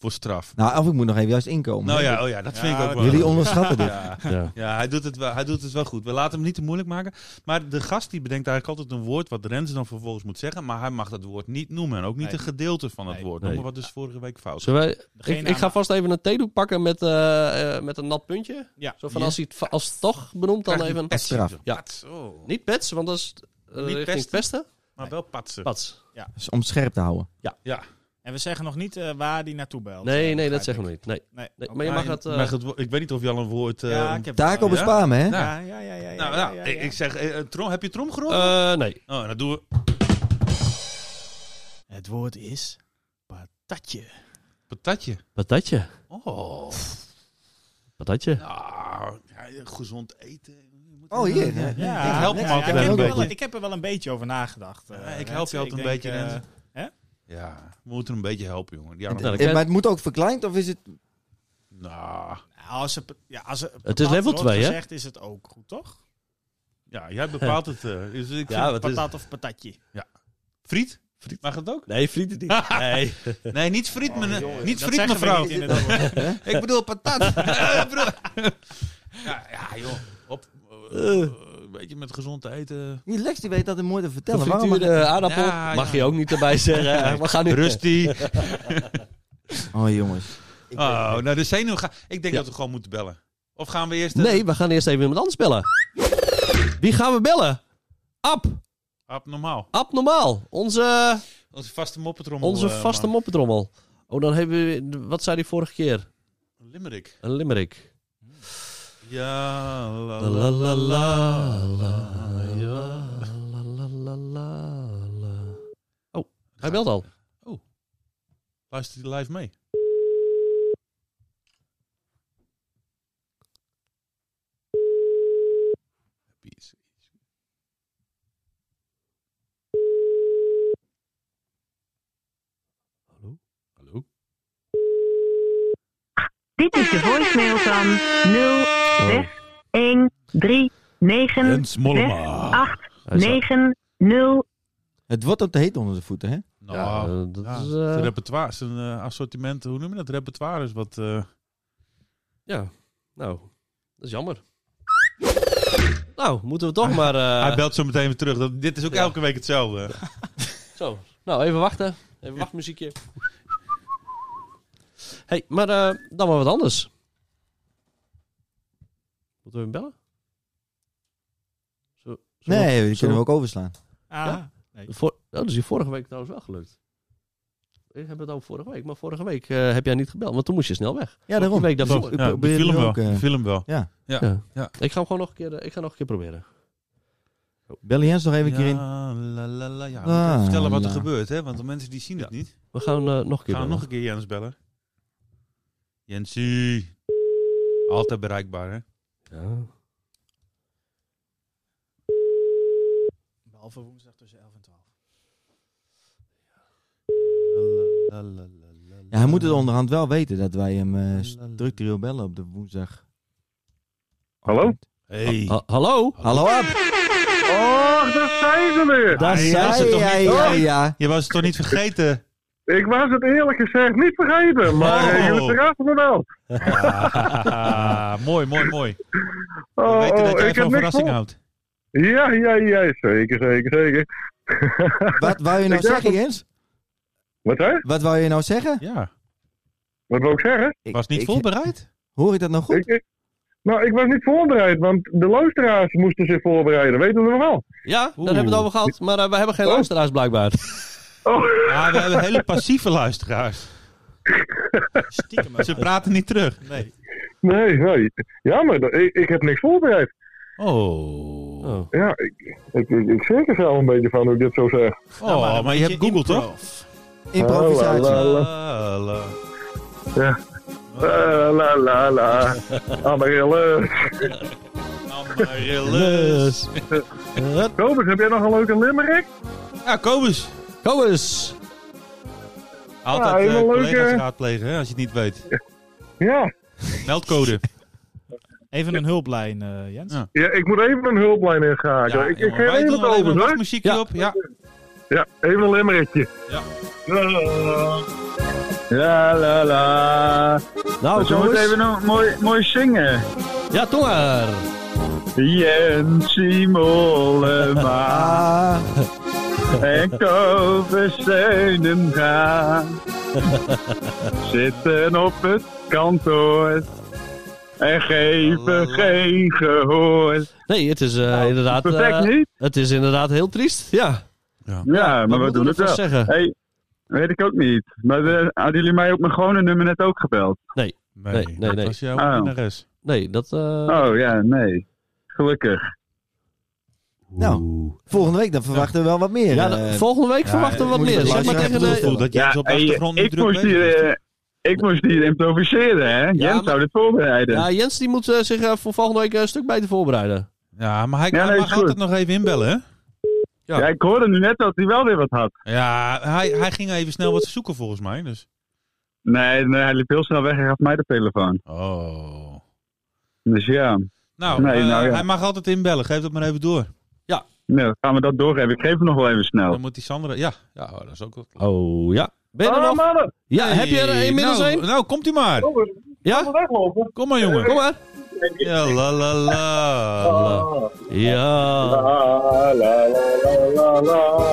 Voor straf.
Nou, of ik moet nog even juist inkomen.
Nou ja, oh ja dat
Ja,
vind ik ook
dat-
wel.
Jullie onderschatten dit.
ja.
ja.
Ja, hij doet, het wel, hij doet het wel goed. We laten hem niet te moeilijk maken. Maar de gast die bedenkt eigenlijk altijd een woord wat Rens dan vervolgens moet zeggen. Maar hij mag dat woord niet noemen. En ook niet
Nee.
een gedeelte van het
Nee.
woord.
Nee.
Noem maar wat dus vorige week fout.
Zullen wij,
Degene
ik, ik ga
aan-
vast even een theedoek pakken met, eh, eh, met een nat puntje.
Ja.
Zo van als hij het, va- als het toch benoemt, dan
Krijgt
even.
die patsen.
Straf.
Ja.
Patso.
Niet petsen, want dat is eh, richting
pesten.
pesten.
Maar wel patsen.
Pats.
Dus om scherp te houden.
Ja.
En we zeggen nog niet eh, waar die naartoe belt.
Nee,
eh,
nee,
begrijp
dat zeggen we
ik.
niet. Nee.
Nee.
Nee,
oké.
maar je mag het. eh,
Mag het wo- ik weet niet of je al een woord... eh,
ja, ik heb
Taco
Ja.
bespaar me, hè?
Nou,
Ja, ja, ja, ja. ja,
nou,
ja,
nou,
ja,
ik-
ja.
ik zeg, eh, eh, trom, heb je trom gerold?
eh, nee.
oh, dat doen we.
Het woord is patatje.
Patatje.
Patatje.
Oh.
Patatje.
Nou, ja, gezond eten. Je moet-
Oh, hier. Ja.
Ik help hem altijd
ik
wel
heb
een
er
beetje.
Ik heb er wel een beetje over nagedacht. eh,
Ja, ik
Rens.
help je altijd
Ik
een
denk,
beetje,
eh,
Rens. Ja, we moeten hem een beetje helpen, jongen. Ja,
Nou,
nou,
dan
Eh,
kan-
maar het moet ook verkleind of is het...
nou,
Als ze, ja, als ze
Het is level
wordt
2, hè?
gezegd, is het ook goed, toch?
ja, jij bepaalt het. eh. dus ik
Ja,
vind-
wat is
Patat of patatje.
friet? Oh, Mag het ook?
Nee, vrienden niet. Nee.
Nee, niet friet, men- niet
Dat
friet
zeggen we
mevrouw.
niet in het woord.
Ik bedoel patat. Eh, broer. ja, ja, joh. Op, eh, een beetje met gezond eten.
Die Lex die weet dat mooi te vertellen. Waarom mag-
Frituurde eh, aardappel.
Ja,
Mag
ja.
je ook niet erbij zeggen. We gaan nu.
Rusty.
Oh jongens. Ik
Oh, nou de zenuw ga. Ik denk
Ja.
dat we gewoon moeten bellen. Of gaan we eerst. eh,
Nee, we gaan eerst even iemand anders bellen. Wie gaan we bellen? Ab.
Abnormaal.
Ab Normaal. Onze,
Onze vaste moppetrommel.
onze
Oh, eh,
vaste
man.
moppetrommel. Oh, dan hebben we... Wat zei hij vorige keer?
Limerick.
Een limerick.
Ja.
La
La,
la la la la, ja, la, la, la, la, la. Oh, hij belt al.
Luister die live mee.
Hallo?
Hallo?
Oh,
Dit is de voicemail van 06139 9,
Jens Mollema.
8,
Hij is-
9, 0.
Het wordt ook te heet onder de voeten, hè?
Nou,
Ja, eh, dat
ja,
is...
het
eh,
repertoire, zijn eh, assortiment, hoe noem je dat? Repertoire is wat... eh,
ja, nou, dat is jammer. Nou, moeten we toch maar... eh,
hij belt zo meteen weer terug. Dat, dit is ook
ja.
elke week hetzelfde.
Zo, nou even wachten. Even wachtmuziekje. hey, maar eh, dan maar wat anders. Moeten we hem bellen? Zo, zullen we-
Nee, die
zullen
kunnen
we-
we ook overslaan.
Ah,
Ja? Voor, nou, dat is je vorige week trouwens wel gelukt. Ik heb het over vorige week, maar vorige week eh, heb jij niet gebeld, want toen moest je snel weg.
Ja, daarom.
Die week daarvoor.
Klopt. Ja, die film,
eh.
wel. Die film wel.
Ja.
Ja.
Ik ga hem gewoon nog een keer, eh, ik ga nog een keer proberen.
Bel Jens nog even een keer in.
Ja, la, la, la, ja.
La,
Ah.
Moet even vertellen wat er
la.
gebeurt, hè? want de mensen die zien het niet.
We gaan eh, nog een keer
Gaan we
bellen.
nog een keer Jens bellen? Jensie. Altijd bereikbaar, hè?
Ja.
Behalve woensdag tussen 11 en 12.
Ja, hij moet het onderhand wel weten dat wij hem eh, structureel bellen op de woensdag.
Hallo?
Hey.
Ha- hallo?
Hallo, Ab.
Och, daar zijn ze weer.
Daar
Hij
zijn
was
ze
het toch
ja,
niet?
ja,
Oh,
ja.
Je was het toch niet vergeten?
Ik was het eerlijk gezegd niet vergeten, maar
Oh.
eh, jullie verrassen me wel.
Ah, mooi, mooi, mooi. We
Oh,
weten dat
oh,
jij
ik heb
van
niks
verrassing
voor.
houdt.
Ja, ja, ja, zeker, zeker, zeker.
Wat wou je nou
Ik dacht
zeggen,
dat-
Jens?
Wat hè?
Wat wou je nou zeggen?
Ja.
Wat wil ik zeggen?
Ik-
Was niet
ik-
voorbereid?
Hoor ik dat nou goed?
Ik, ik- nou, ik was niet voorbereid, want de luisteraars moesten zich voorbereiden. Weten we nog wel?
Ja, daar
Oeh.
hebben we het over gehad, maar eh, we hebben geen
Oh.
luisteraars blijkbaar.
Oh,
Ja, Ah, we hebben hele passieve luisteraars.
Stiekem.
Ze praten niet terug.
Nee.
nee, nee. Jammer, dat- ik, ik heb niks voorbereid.
Oh. Oh,
Oh.
Ja, ik, ik, ik, ik schrik er zelf een beetje van hoe ik dit zo zeg.
Nou,
Nou,
maar, je hebt Google toch?
Oh, la,
Improvisatie.
la.
La, la.
La Eh, la la la. Ah, eh, Amarille.
Nou, eh, Amaryllis.
Kobus, heb jij nog een leuke limerick?
Ja, Kobus.
Kom eens!
Ja,
Altijd eh
helemaal leuk,
collega's
eh.
raadplegen, hè, als je het niet weet.
Ja.
Meldcode.
Even een hulplijn, eh, Jens.
Ja.
ja, ik moet even een hulplijn inschakelen. ik ik
jongen,
geef
wij
even
doen
het
wel even
over,
wat
hoor.
muziekje
Ja.
op. Ja.
Ja, even een limmerikje.
Ja.
La la la.
Nou, kom eens.
nog mooi, mooi zingen.
Ja, doe maar.
Jensie Mollema en Kobus Zeunenga zitten op het kantoor en geven geen gehoor.
Nee, het is eh, inderdaad...
Perfect
eh,
niet?
het is inderdaad heel triest, ja.
Ja, maar we
moeten
doen het
ervan
wel.
zeggen?
Hey, weet ik ook niet. Maar eh, hadden jullie mij op mijn gewone nummer net ook gebeld?
Nee, nee,
dat
nee.
was jouw
Ah.
winnares.
Nee, dat... eh,
Oh ja, nee. Gelukkig.
Nou, volgende week dan verwachten we wel wat meer.
ja,
eh,
de- volgende week verwachten we wat
moet je
meer.
de
Zeg maar
luisteraars
tegen
het
de...
gevoel dat Jens op de
en je-
achtergrond nu
eh, ik
druk
moest
bezig dus- is.
hier, eh, Ik moest hier improviseren, hè? Jens
maar-
zou dit voorbereiden.
Ja, Jens die moet eh, zich eh, voor volgende week een stuk beter voorbereiden.
Ja, maar hij,
Ja, nee,
hij
is
mag
goed.
altijd nog even inbellen,
Ja.
Ja, ik hoorde nu net dat hij wel weer wat had.
hè? Ja, hij, hij ging even snel wat zoeken volgens mij. Dus.
Nee, nee hij liep heel snel weg en gaf mij de telefoon.
Oh.
Dus ja,
Nou,
Nee,
eh,
nou ja.
hij mag altijd inbellen. Geef dat maar even door.
nou, gaan we dat doorgeven. Ik geef hem nog wel even snel.
Dan moet die Sandra... Ja, ja oh, dat is ook wel...
Oh, ja. Ben je er
Oh,
nog?
mannen!
Ja, heb je er
Hey,
inmiddels
nou,
een?
Nou, komt u maar.
Oh, we
Ja?
moeten weglopen.
Kom maar, jongen.
Kom maar.
Ja, la la la.
Ah,
Ja.
la, la, la, la, la, la.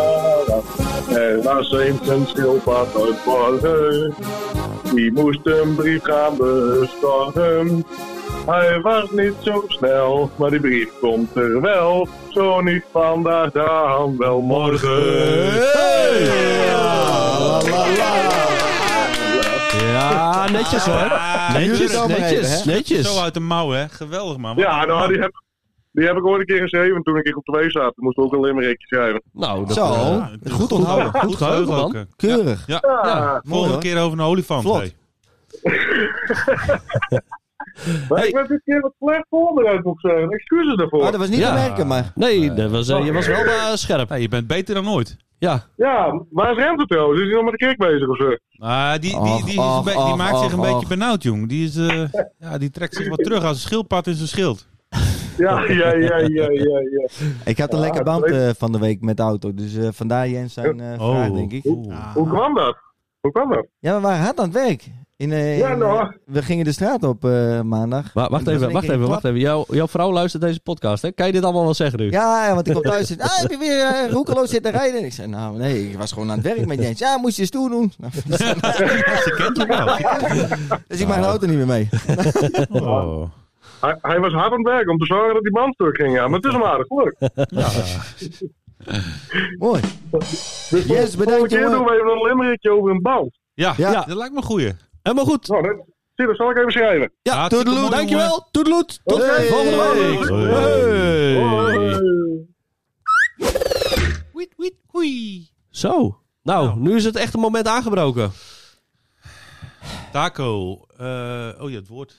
Er was eens een schildpad uit Borgen. Die moest een brief gaan bezorgen. Hij was niet zo snel, maar die brief komt er wel. Zo niet vandaag, dan wel morgen.
la, la, la.
Ja, netjes hoor.
Ah,
Netjes,
jullie allemaal
netjes,
even,
Zo
netjes.
uit de mouw, hè? Geweldig, man.
Ja, nou, die heb, die heb ik ooit een keer geschreven toen ik in groep 2 zat. Toen moest ik ook een limmerikje schrijven.
Nou, dat...
Zo.
eh,
Oh, goed onthouden.
Goed geheugen, man.
ook.
Keurig.
ja.
Mooi,
Volgende
hoor.
keer over een olifant.
Vlot.
hey.
Maar ik werd dit keer wat slecht voorbereid, moet ik zeggen. Excuses daarvoor.
Oh, dat was niet
Ja.
te merken, maar...
Nee, dat was, eh, je was wel eh, scherp.
Hey, je bent beter dan ooit.
Ja.
Ja, waar is Remco trouwens? Is hij nog met de kerk bezig of zo?
Ah, die, die,
Och,
die, is een
och,
be- die
och,
maakt zich een
och,
beetje
och.
benauwd, jong. Die, is, eh, ja, die trekt zich wat terug als een schildpad in zijn schild.
Ja, ja, ja, ja, ja, ja.
Ik had een
Ja,
lekker band
leuk.
eh, van de week met de auto. Dus eh, vandaar Jens zijn eh, vraag, denk ik.
oeh.
Ah.
Hoe kwam dat? Hoe kwam dat?
Ja, we waren hard aan het werk. In, eh,
Ja,
in,
nou.
eh, we gingen de straat op eh, maandag.
Wa-
Ik
wacht
was
even,
in
wacht
één keer
even, wacht
klap.
even. Jouw, jouw vrouw luistert deze podcast, hè? Kan je dit allemaal wel zeggen nu?
Ja, ja, want ik kom thuis en ah, heb je weer eh, roekeloos zitten rijden? Ik zei, nou nee, ik was gewoon aan het werk met Jens. Ja, moest je eens doen doen.
Ze kent hem
Oh.
wel.
Dus ik maak de auto niet meer mee.
Oh.
Hij, hij was hard aan het werk om te zorgen dat die band stuk ging. Ja, maar het is hem aardig gelukt.
Mooi.
Dus vol-
Yes,
volgende
bedankt
keer doen
jongen.
we even een limmerikje over een band.
Ja,
Ja.
dat lijkt me een goeie.
Helemaal goed.
Nou, dat, zie, dat zal ik even schrijven.
Ja,
Hartstikke
toedeloed.
mooi,
Dankjewel. Toedeloed. Tot
Hey.
volgende week.
Hoi.
Hey.
Hoi.
Wiet, wiet, hoei.
Zo. Nou,
Nou.
nu is het echt een moment aangebroken.
Taco. eh, oh ja, het woord.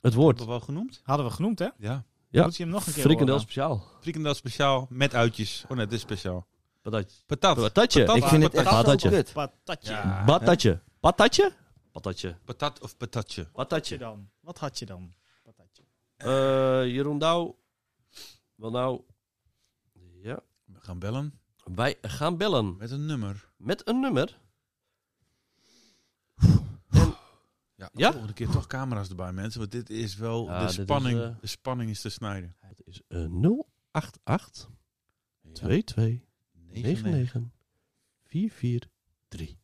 Het
Wordt
woord.
we wel genoemd.
Hadden we genoemd, hè?
Ja.
Ja.
Moet je hem nog een keer
Frikandel
horen?
speciaal.
Frikandel speciaal met uitjes. Oh nee, dit is speciaal.
Patatje.
Patat.
Patatje.
Patat.
Ik vind het echt zo
Patatje.
kut.
Patatje.
Ja.
Patatje. Patatje? Patatje.
Patat of patatje.
Wat had je
Patatje.
dan? Wat had je dan? Patatje.
Eh, Jeroen Douw. Wel nou. Ja.
We gaan bellen
Wij gaan bellen
met een nummer.
met een nummer.
Ja,
Ja?
volgende keer toch camera's erbij, mensen. Want dit is wel...
Ja,
de,
dit is,
spanning,
eh,
de spanning is te snijden.
Het is eh, 088 22 99 443.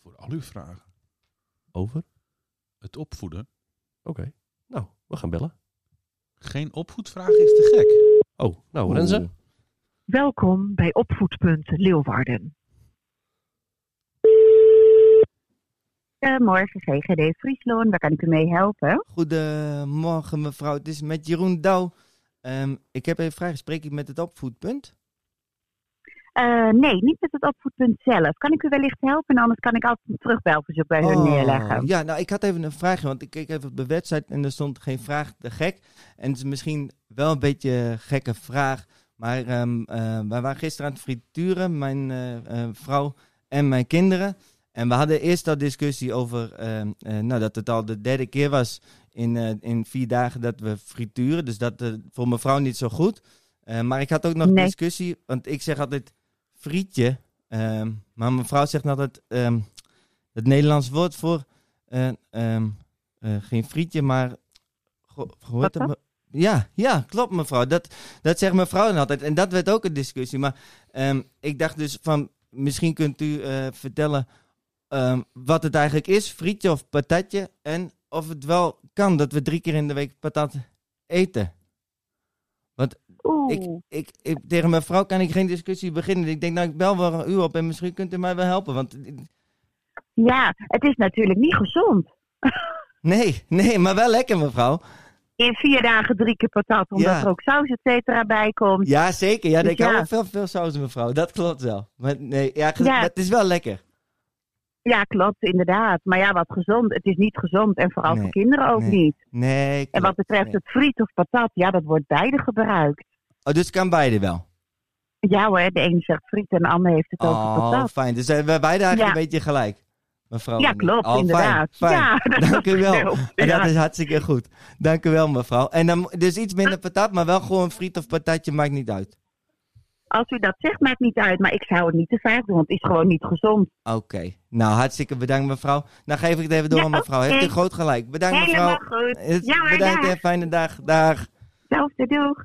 Voor al uw vragen.
Over.
Het opvoeden.
Oké. Nou, we gaan bellen.
Geen opvoedvraag is te gek.
Oh, nou, Renze.
Welkom bij Opvoedpunt Leeuwarden.
Goedemorgen, GGD Friesloon. Waar kan ik u mee helpen?
Goedemorgen mevrouw, het is met Jeroen Douw. Ehm, ik heb even vraag, spreek ik met het opvoedpunt?
Eh, nee, niet met het opvoedpunt zelf. Kan ik u wellicht helpen? Anders kan ik altijd een terugbelverzoek bij hun
Oh,
neerleggen.
Ja, nou ik had even een vraagje, want ik keek even op de website en er stond geen vraag te gek. En het is misschien wel een beetje een gekke vraag, maar ehm, eh, wij waren gisteren aan het frituren, mijn eh, eh, vrouw en mijn kinderen. En we hadden eerst al discussie over ehm, eh, nou, dat het al de derde keer was in, eh, in vier dagen dat we frituren. Dus dat eh, voor mijn vrouw niet zo goed. Eh, maar ik had ook nog
Nee.
discussie, want ik zeg altijd frietje. ehm, maar mijn vrouw zegt altijd ehm, het Nederlands woord voor eh, ehm, eh, geen frietje, maar... Go, hoe heet dat? Ja, ja, klopt mevrouw. Dat, dat zegt mevrouw dan altijd. En dat werd ook een discussie. Maar ehm, ik dacht dus van, misschien kunt u eh, vertellen ehm, wat het eigenlijk is, frietje of patatje. En of het wel kan dat we drie keer in de week patat eten.
Oeh.
Ik, ik, ik, tegen mijn vrouw kan ik geen discussie beginnen. Ik denk, nou, ik bel wel u op en misschien kunt u mij wel helpen. Want
Ja, het is natuurlijk niet gezond.
nee, nee, maar wel lekker mevrouw.
In vier dagen drie keer patat, omdat
Ja.
er ook saus et cetera bij komt.
Ja, zeker. Ja,
Dus
ik hou
ja.
wel veel, veel saus mevrouw. Dat klopt wel. Maar nee, ja, ge-
Ja.
maar het is wel lekker.
Ja, klopt, inderdaad. Maar ja, wat gezond. Het is niet gezond en vooral
Nee,
voor kinderen ook
nee.
niet.
Nee,
En wat
klopt.
betreft
Nee.
het friet of patat, ja, dat wordt beide gebruikt.
Oh, dus kan beide wel?
Ja hoor, de ene zegt friet en de ander heeft het over
Oh,
patat.
fijn. Dus zijn we beide eigenlijk
Ja.
een beetje gelijk. Mevrouw.
Ja,
en ik.
klopt,
Oh, fijn,
inderdaad.
fijn.
Ja, dat
Dank u wel.
klopt,
En dat
ja.
is hartstikke goed. Dank u wel, mevrouw. En dan, dus iets minder
Ah.
patat, maar wel gewoon friet of patatje, maakt niet uit.
Als u dat zegt, maakt niet uit. Maar ik zou het niet te vaak doen, want het is gewoon niet gezond.
Oké. Nou, hartstikke bedankt, mevrouw. Dan geef ik het even door
Ja,
aan mevrouw. Heeft
oké.
u groot gelijk. Bedankt,
Helemaal
mevrouw.
goed.
Het-
Ja, hoor,
bedankt
dag.
en fijne dag. Dag.
Zelfde doeg.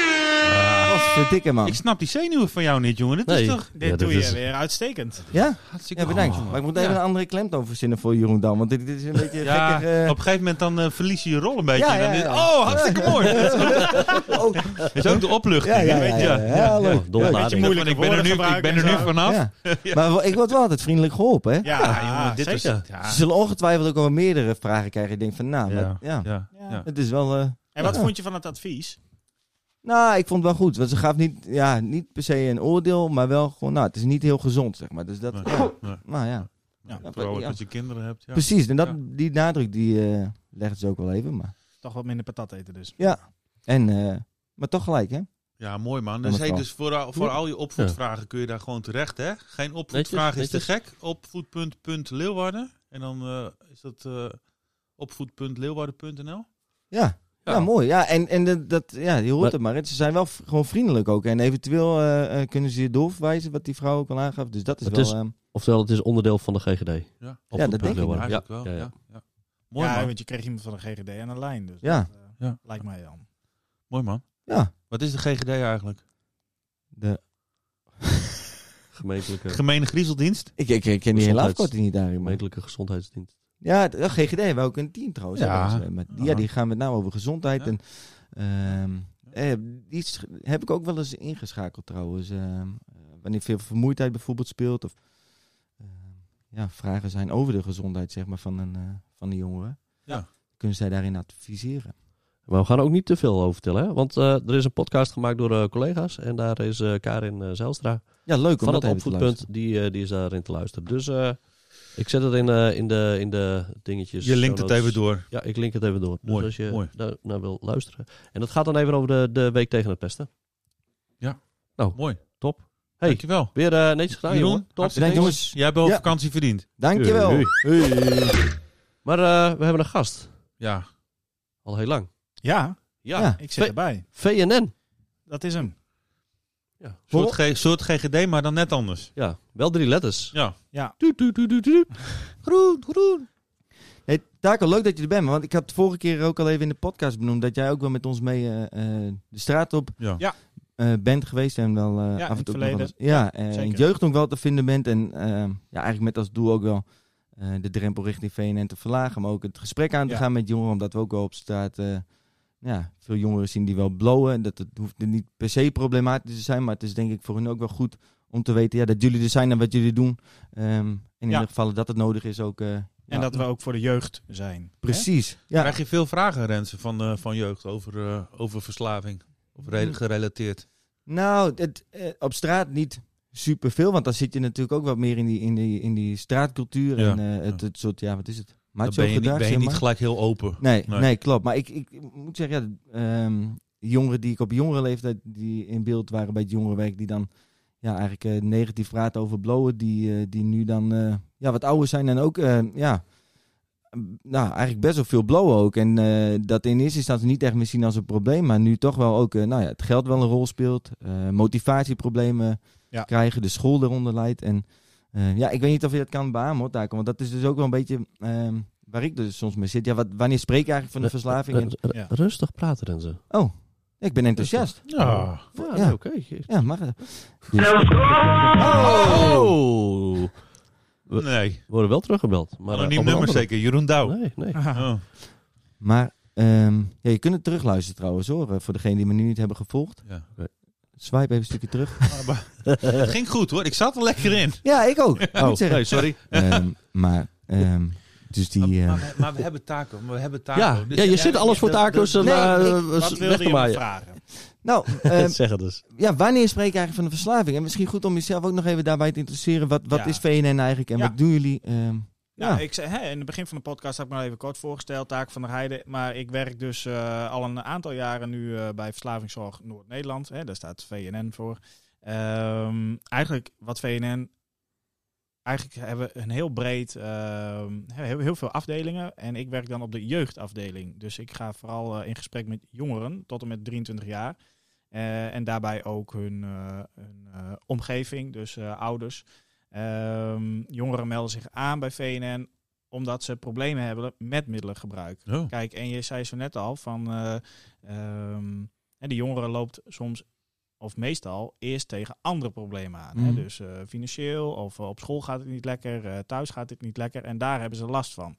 Godverdikke, man.
Ik snap die zenuwen van jou niet, jongen. Dit
Nee.
is toch...
Dit
Ja,
doe
dit
je
is-
weer uitstekend.
Ja?
Hartstikke
Ja, bedankt.
Oh.
Maar ik moet even
Ja.
een andere klemtoon verzinnen voor Jeroen Dam, want dit, dit is een beetje een
Ja,
gekker... eh,
op een gegeven moment dan eh, verlies je je rol een beetje.
Ja,
en dan
ja,
is-
ja.
Oh, hartstikke mooi. Dat is ook-
Oh,
dat is ook de opluchting.
ja, ja, ja,
weet je.
ja, ja, leuk.
Oh, dolle
Ja,
lading.
ik ben,
moeilijke
ik ben er
woorden
nu, ik
gebruiken
ben er nu
en zo.
vanaf.
Ja. Maar wel- ik word wel altijd vriendelijk geholpen, hè?
Ja,
jongen, dit is-
zeker.
Ze zullen ongetwijfeld ook wel meerdere vragen krijgen. Ik denk van, nou, maar-
Ja.
ja.
Ja,
Ja.
ja.
het is wel... eh,
En wat
Ja.
vond je van het advies?
nou, ik vond het wel goed. Want ze gaf niet, ja, niet per se een oordeel, maar wel gewoon... Nou, het is niet heel gezond, zeg maar. Dus dat...
Nee,
ja.
nee.
Nou ja,
Ja,
Vooral
ja.
als je kinderen hebt. Ja.
precies. En dat,
Ja.
die nadruk, die eh, legt ze ook wel even, maar...
Toch wat minder patat eten dus.
En, eh, maar toch gelijk, hè?
Ja, mooi man.
Ja,
Dus, hey,
mevrouw.
dus voor, al- voor al je opvoedvragen kun je daar gewoon terecht, hè? Geen opvoedvraag
Netjes,
is te gek. Opvoedpunt.leeuwarden. En dan eh, is dat eh, opvoed.leeuwarden.nl.
Ja. Ja.
Ja.
Nou, mooi. Ja, en, en dat- dat, ja, je hoort
Maar-
het maar. hè. Ze zijn wel v- gewoon vriendelijk ook. En eventueel eh, eh, kunnen ze je doorverwijzen, wat die vrouw ook al aangaf. Dus dat is
Het
wel...
is-
ehm,
Oftewel, het is onderdeel van de GGD.
Ja,
Ja, dat denk ik
wel.
eigenlijk
Ja,
wel.
ja,
Ja,
ja.
ja. Mooi
ja,
man.
want je kreeg iemand van de GGD aan de lijn. Dus
Ja.
dat, eh,
Ja.
lijkt mij dan.
Mooi man.
ja.
Wat is de GGD eigenlijk?
De,
Gemeentelijke,
Gemene griezeldienst?
ik, ik, ik ken die hele
Gezondheids-
afkorting niet eigenlijk. Maar.
gemeentelijke gezondheidsdienst.
Ja, eh, de, de GGD hebben we ook een team trouwens.
Ja.
Ja, maar, die- ja die gaan met name over gezondheid.
Ja.
En, ehm, eh, die sch- heb ik ook wel eens ingeschakeld trouwens. ehm, eh, wanneer veel vermoeidheid bijvoorbeeld speelt. Of ehm, ja, vragen zijn over de gezondheid zeg maar, van, een, eh, van de jongeren.
Ja.
Kunnen zij daarin adviseren.
Maar we gaan er ook niet te veel over vertellen, hè? want eh, er is een podcast gemaakt door eh, collega's. En daar is eh, Karin eh, Zijlstra
Ja, leuk om
van
dat
het
even te
opvoedpunt,
luisteren.
die, eh, die is daarin te luisteren. Dus eh, ik zet het in, eh, in, de, in de dingetjes.
Je linkt
show
het
notes.
even door.
Ja, ik link het even door.
Mooi,
dus als je
mooi.
daar naar wil luisteren. En dat gaat dan even over de, de week tegen het pesten. Oh.
Mooi.
Top. Hey.
Dankjewel.
Weer eh netjes gedaan,
Jeroen,
jongen. Top.
hartstikke
Bedankt jongens.
Jij hebt wel
Ja.
vakantie verdiend.
Dankjewel.
Hey.
Hey.
Maar eh, we hebben een gast.
Ja.
Al heel lang.
Ja,
Ja.
Ja.
ik zit
Twee-
erbij.
VNN.
Dat is hem.
Soort, G- soort GGD, maar dan net anders.
Ja, wel drie letters.
Ja.
Du, du, du, du, du.
Groen, groen. Hey, Taco, leuk dat je er bent. man. Want ik had de vorige keer ook al even in de podcast benoemd... dat jij ook wel met ons mee eh, eh, de straat op
Ja.
Ja.
eh, bent geweest. En wel eh,
in
af en
het
toe ook nog
verleden.
wel eens- Ja, en in
zeker.
het jeugd ook wel te vinden bent. En eh, ja, eigenlijk met als doel ook wel eh, de drempel richting VNN te verlagen. Maar ook het gesprek aan te
Ja.
gaan met jongeren. Omdat we ook wel op straat eh, ja, veel jongeren zien die wel blowen. En Dat het hoeft niet per se problematisch te zijn. Maar het is denk ik voor hun ook wel goed om te weten ja, dat jullie er zijn en wat jullie doen. Ehm, en in
Ja.
ieder geval dat het nodig is ook... eh,
En
ja,
dat we ook voor de jeugd zijn.
Precies. Ja.
Krijg je veel vragen, Rensen, van, eh, van jeugd over, eh, over verslaving? Of
Hm.
re- gerelateerd?
Nou, het, eh, op straat niet superveel, want dan zit je natuurlijk ook wat meer in die, in die, in die straatcultuur
Ja,
en eh, het,
ja.
het soort, ja, wat is het?
Dan
Macho
ben je, niet,
gedrag,
ben je
zeg
niet
maar.
gelijk heel open.
Nee,
Nee.
nee. klopt. Maar ik, ik moet zeggen, ja, ehm, jongeren die ik op jongere leeftijd die in beeld waren bij het jongerenwerk, die dan ja, eigenlijk eh, negatief praten over blowen, die, eh, die nu dan eh, ja, wat ouder zijn en ook, eh, ja, m, nou, eigenlijk best wel veel blowen ook. En eh, dat in eerste instantie niet echt meer zien als een probleem, maar nu toch wel ook, eh, nou ja, het geld wel een rol speelt, eh, motivatieproblemen
Ja.
krijgen, de school eronder leidt en eh, ja, ik weet niet of je dat kan beamen, hoor, Taco. Want dat is dus ook wel een beetje ehm, waar ik dus soms mee zit. Ja, wat, wanneer spreek ik eigenlijk
Eh,
van de verslaving? En-
R- r-
Ja.
Rustig praten, Renze.
Oh, ik ben
eh,
enthousiast.
Ja.
Ja,
Ja.
nee, oké.
Ja, mag het.
Ah!
Oh! We-
Nee.
We worden wel teruggebeld. Maar, eh,
Anoniem
op een
nummer
andere-
zeker. Jeroen Douw.
Nee, nee.
Oh.
Maar ehm, ja, je kunt het terugluisteren trouwens, hoor. eh, Voor degenen die me nu niet hebben gevolgd. Eh,
Ja.
Swipe even een stukje terug.
Het ging goed hoor. Ik zat er lekker in.
Ja, ik ook. Ik
Oh,
moet zeggen.
nee, sorry.
Ehm, maar, ehm, dus die... eh,
Maar, we- maar we hebben taco. Maar we hebben taco.
Ja,
Dus
ja, je zit alles voor
dat-
taco's en
nee,
eh,
ik-
eh,
Wat
weg
wilde
te
je me
maaien.
vragen?
nou, ehm,
Zeg het dus.
ja, wanneer spreek ik eigenlijk van de verslaving? En misschien goed om jezelf ook nog even daarbij te interesseren. Wat, wat
Ja.
is VNN eigenlijk en
Ja.
wat doen jullie? Ehm,
Nou, ik zei, hè, in het begin van de podcast heb ik me al even kort voorgesteld, Taak van der Heijden. Maar ik werk dus eh, al een aantal jaren nu eh, bij Verslavingszorg Noord-Nederland. Hè, daar staat VNN voor. Ehm, eigenlijk wat VNN... Eigenlijk hebben we een heel breed, ehm, he- heel, heel veel afdelingen. En ik werk dan op de jeugdafdeling. Dus ik ga vooral eh, in gesprek met jongeren tot en met 23 jaar. Eh, en daarbij ook hun, eh, hun eh, omgeving, dus eh, ouders. Ehm, jongeren melden zich aan bij VNN omdat ze problemen hebben met middelengebruik.
eh.
Oh.
Kijk, en je zei zo net al van eh ehm, hè, de jongeren loopt soms of meestal eerst tegen andere problemen aan. Hè?
Mhm.
Dus eh, financieel of eh, op school gaat het niet lekker, eh, thuis gaat het niet lekker en daar hebben ze last van.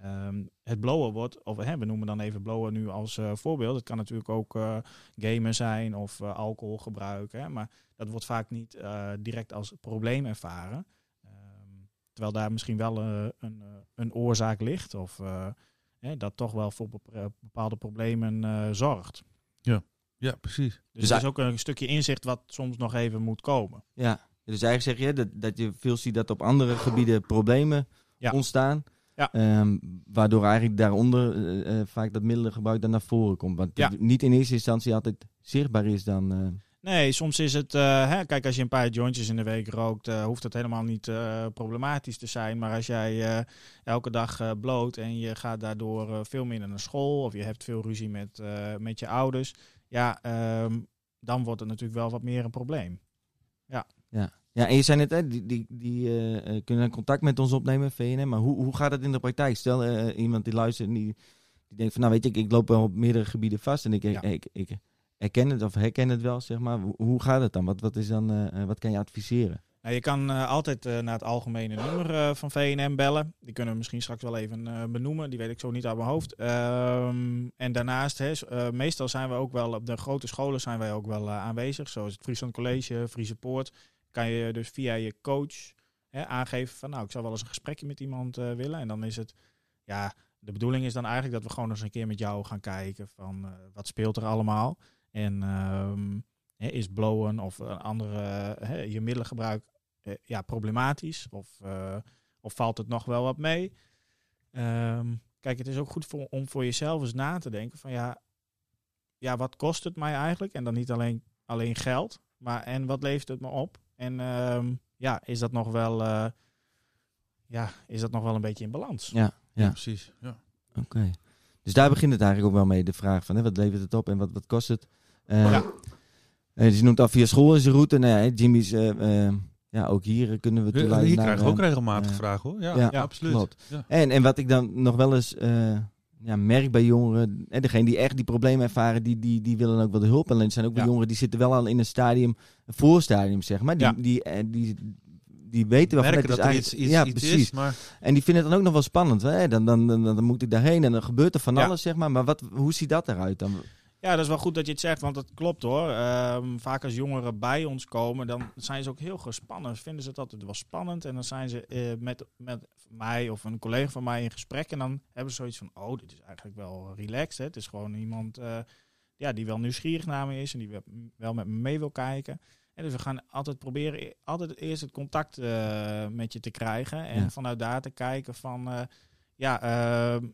Ehm, het blowen wordt, of hè, we noemen dan even blowen nu als eh, voorbeeld. Het kan natuurlijk ook eh, gamen zijn of eh, alcoholgebruik. Hè? Maar dat wordt vaak niet eh, direct als probleem ervaren. Ehm, terwijl daar misschien wel eh, een, eh, een oorzaak ligt. Of eh, hè, dat toch wel voor bep- eh, bepaalde problemen eh, zorgt.
Ja, precies.
Dus, dat is ook een stukje inzicht wat soms nog even moet komen.
Ja, dus eigenlijk zeg je dat, dat je veel ziet dat op andere gebieden problemen
Ja.
ontstaan.
Ja.
Ehm, waardoor eigenlijk daaronder eh, eh, vaak dat middelengebruik dan naar voren komt. Want het
Ja.
niet in eerste instantie altijd zichtbaar is dan. eh,
Nee, soms is het... eh, hè, kijk, als je een paar jointjes in de week rookt... eh, hoeft dat helemaal niet eh, problematisch te zijn. Maar als jij eh, elke dag eh, bloot en je gaat daardoor eh, veel minder naar school... of je hebt veel ruzie met, eh, met je ouders... ja, ehm, dan wordt het natuurlijk wel wat meer een probleem.
Ja, en je zei net, hè, die, die, die eh, eh, kunnen contact met ons opnemen, VNM. Maar hoe, hoe gaat dat in de praktijk? Stel, eh, iemand die luistert en die, die denkt van, nou weet je, ik, ik loop wel op meerdere gebieden vast en ik,
Ja.
ik, ik herken het of herken het wel, zeg maar. Hoe, hoe gaat het dan? Wat, wat, is dan eh, eh, wat kan je adviseren?
Nou, je kan eh, altijd eh, naar het algemene nummer eh, van VNM bellen. Die kunnen we misschien straks wel even eh, benoemen. Die weet ik zo niet uit mijn hoofd. Ehm, en daarnaast, hè, s- eh, meestal zijn we ook wel op de grote scholen zijn wij ook wel eh, aanwezig. Zoals het Friesland College, Friese Poort. Kan je dus via je coach hè, aangeven van nou, ik zou wel eens een gesprekje met iemand eh, willen. En dan is het, ja, de bedoeling is dan eigenlijk dat we gewoon eens een keer met jou gaan kijken van eh, wat speelt er allemaal. En ehm, hè, is blowen of een andere, eh, hè, je middelengebruik eh, ja, problematisch? Of, eh, of valt het nog wel wat mee? Ehm, kijk, het is ook goed voor, om voor jezelf eens na te denken van ja, ja, wat kost het mij eigenlijk? En dan niet alleen, alleen geld, maar en wat levert het me op? En ehm, ja, is dat nog wel, eh, ja, is dat nog wel een beetje in balans?
Ja,
Ja, precies. Ja.
oké. Dus daar begint het eigenlijk ook wel mee, de vraag van, hè, wat levert het op en wat, wat kost het? Eh,
Ja.
eh, dus je noemt af via school is de route. Nou ja, hè, Jimmy's, eh, eh, ja, ook hier eh, kunnen we
Hier
toeleiden naar,
krijgen we ook
eh,
regelmatig
eh,
vragen hoor. Ja,
ja,
ja, absoluut.
klopt.
Ja.
En, en wat ik dan nog wel eens eh, ja, merk bij jongeren, en degene die echt die problemen ervaren, die, die, die willen ook wel de hulp. Alleen er zijn ook weer
Ja.
jongeren die zitten wel al in een stadium, een voorstadium zeg maar. Die,
Ja.
die, eh, die, die weten wel van,
Merken
het
dat
is
er iets,
eigenlijk-
iets,
ja,
iets
precies.
is, maar
En die vinden het dan ook nog wel spannend. Hè? Dan, dan, dan, dan moet ik daarheen en dan gebeurt er van
Ja.
alles zeg maar. Maar wat, hoe ziet dat eruit dan?
Ja, dat is wel goed dat je het zegt, want dat klopt hoor. Ehm, vaak als jongeren bij ons komen, dan zijn ze ook heel gespannen. Vinden ze het altijd wel spannend. En dan zijn ze eh, met, met mij of een collega van mij in gesprek. En dan hebben ze zoiets van, oh, dit is eigenlijk wel relaxed. Hè? Het is gewoon iemand eh, ja, die wel nieuwsgierig naar me is en die wel- wel met me mee wil kijken. En dus we gaan altijd proberen, e- altijd eerst het contact eh, met je te krijgen. En
Ja.
vanuit daar te kijken van, eh, ja, ehm,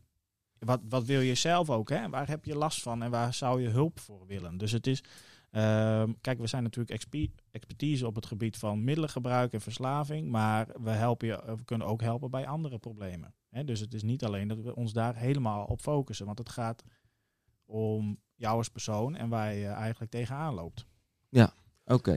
wat, wat wil je zelf ook? Hè? Waar heb je last van en waar zou je hulp voor willen? Dus het is, ehm, kijk, we zijn natuurlijk expe- expertise op het gebied van middelengebruik en verslaving, maar we, helpen je, eh, we kunnen ook helpen bij andere problemen. Hè? Dus het is niet alleen dat we ons daar helemaal op focussen, want het gaat om jou als persoon en waar je eigenlijk tegenaan loopt.
Oké.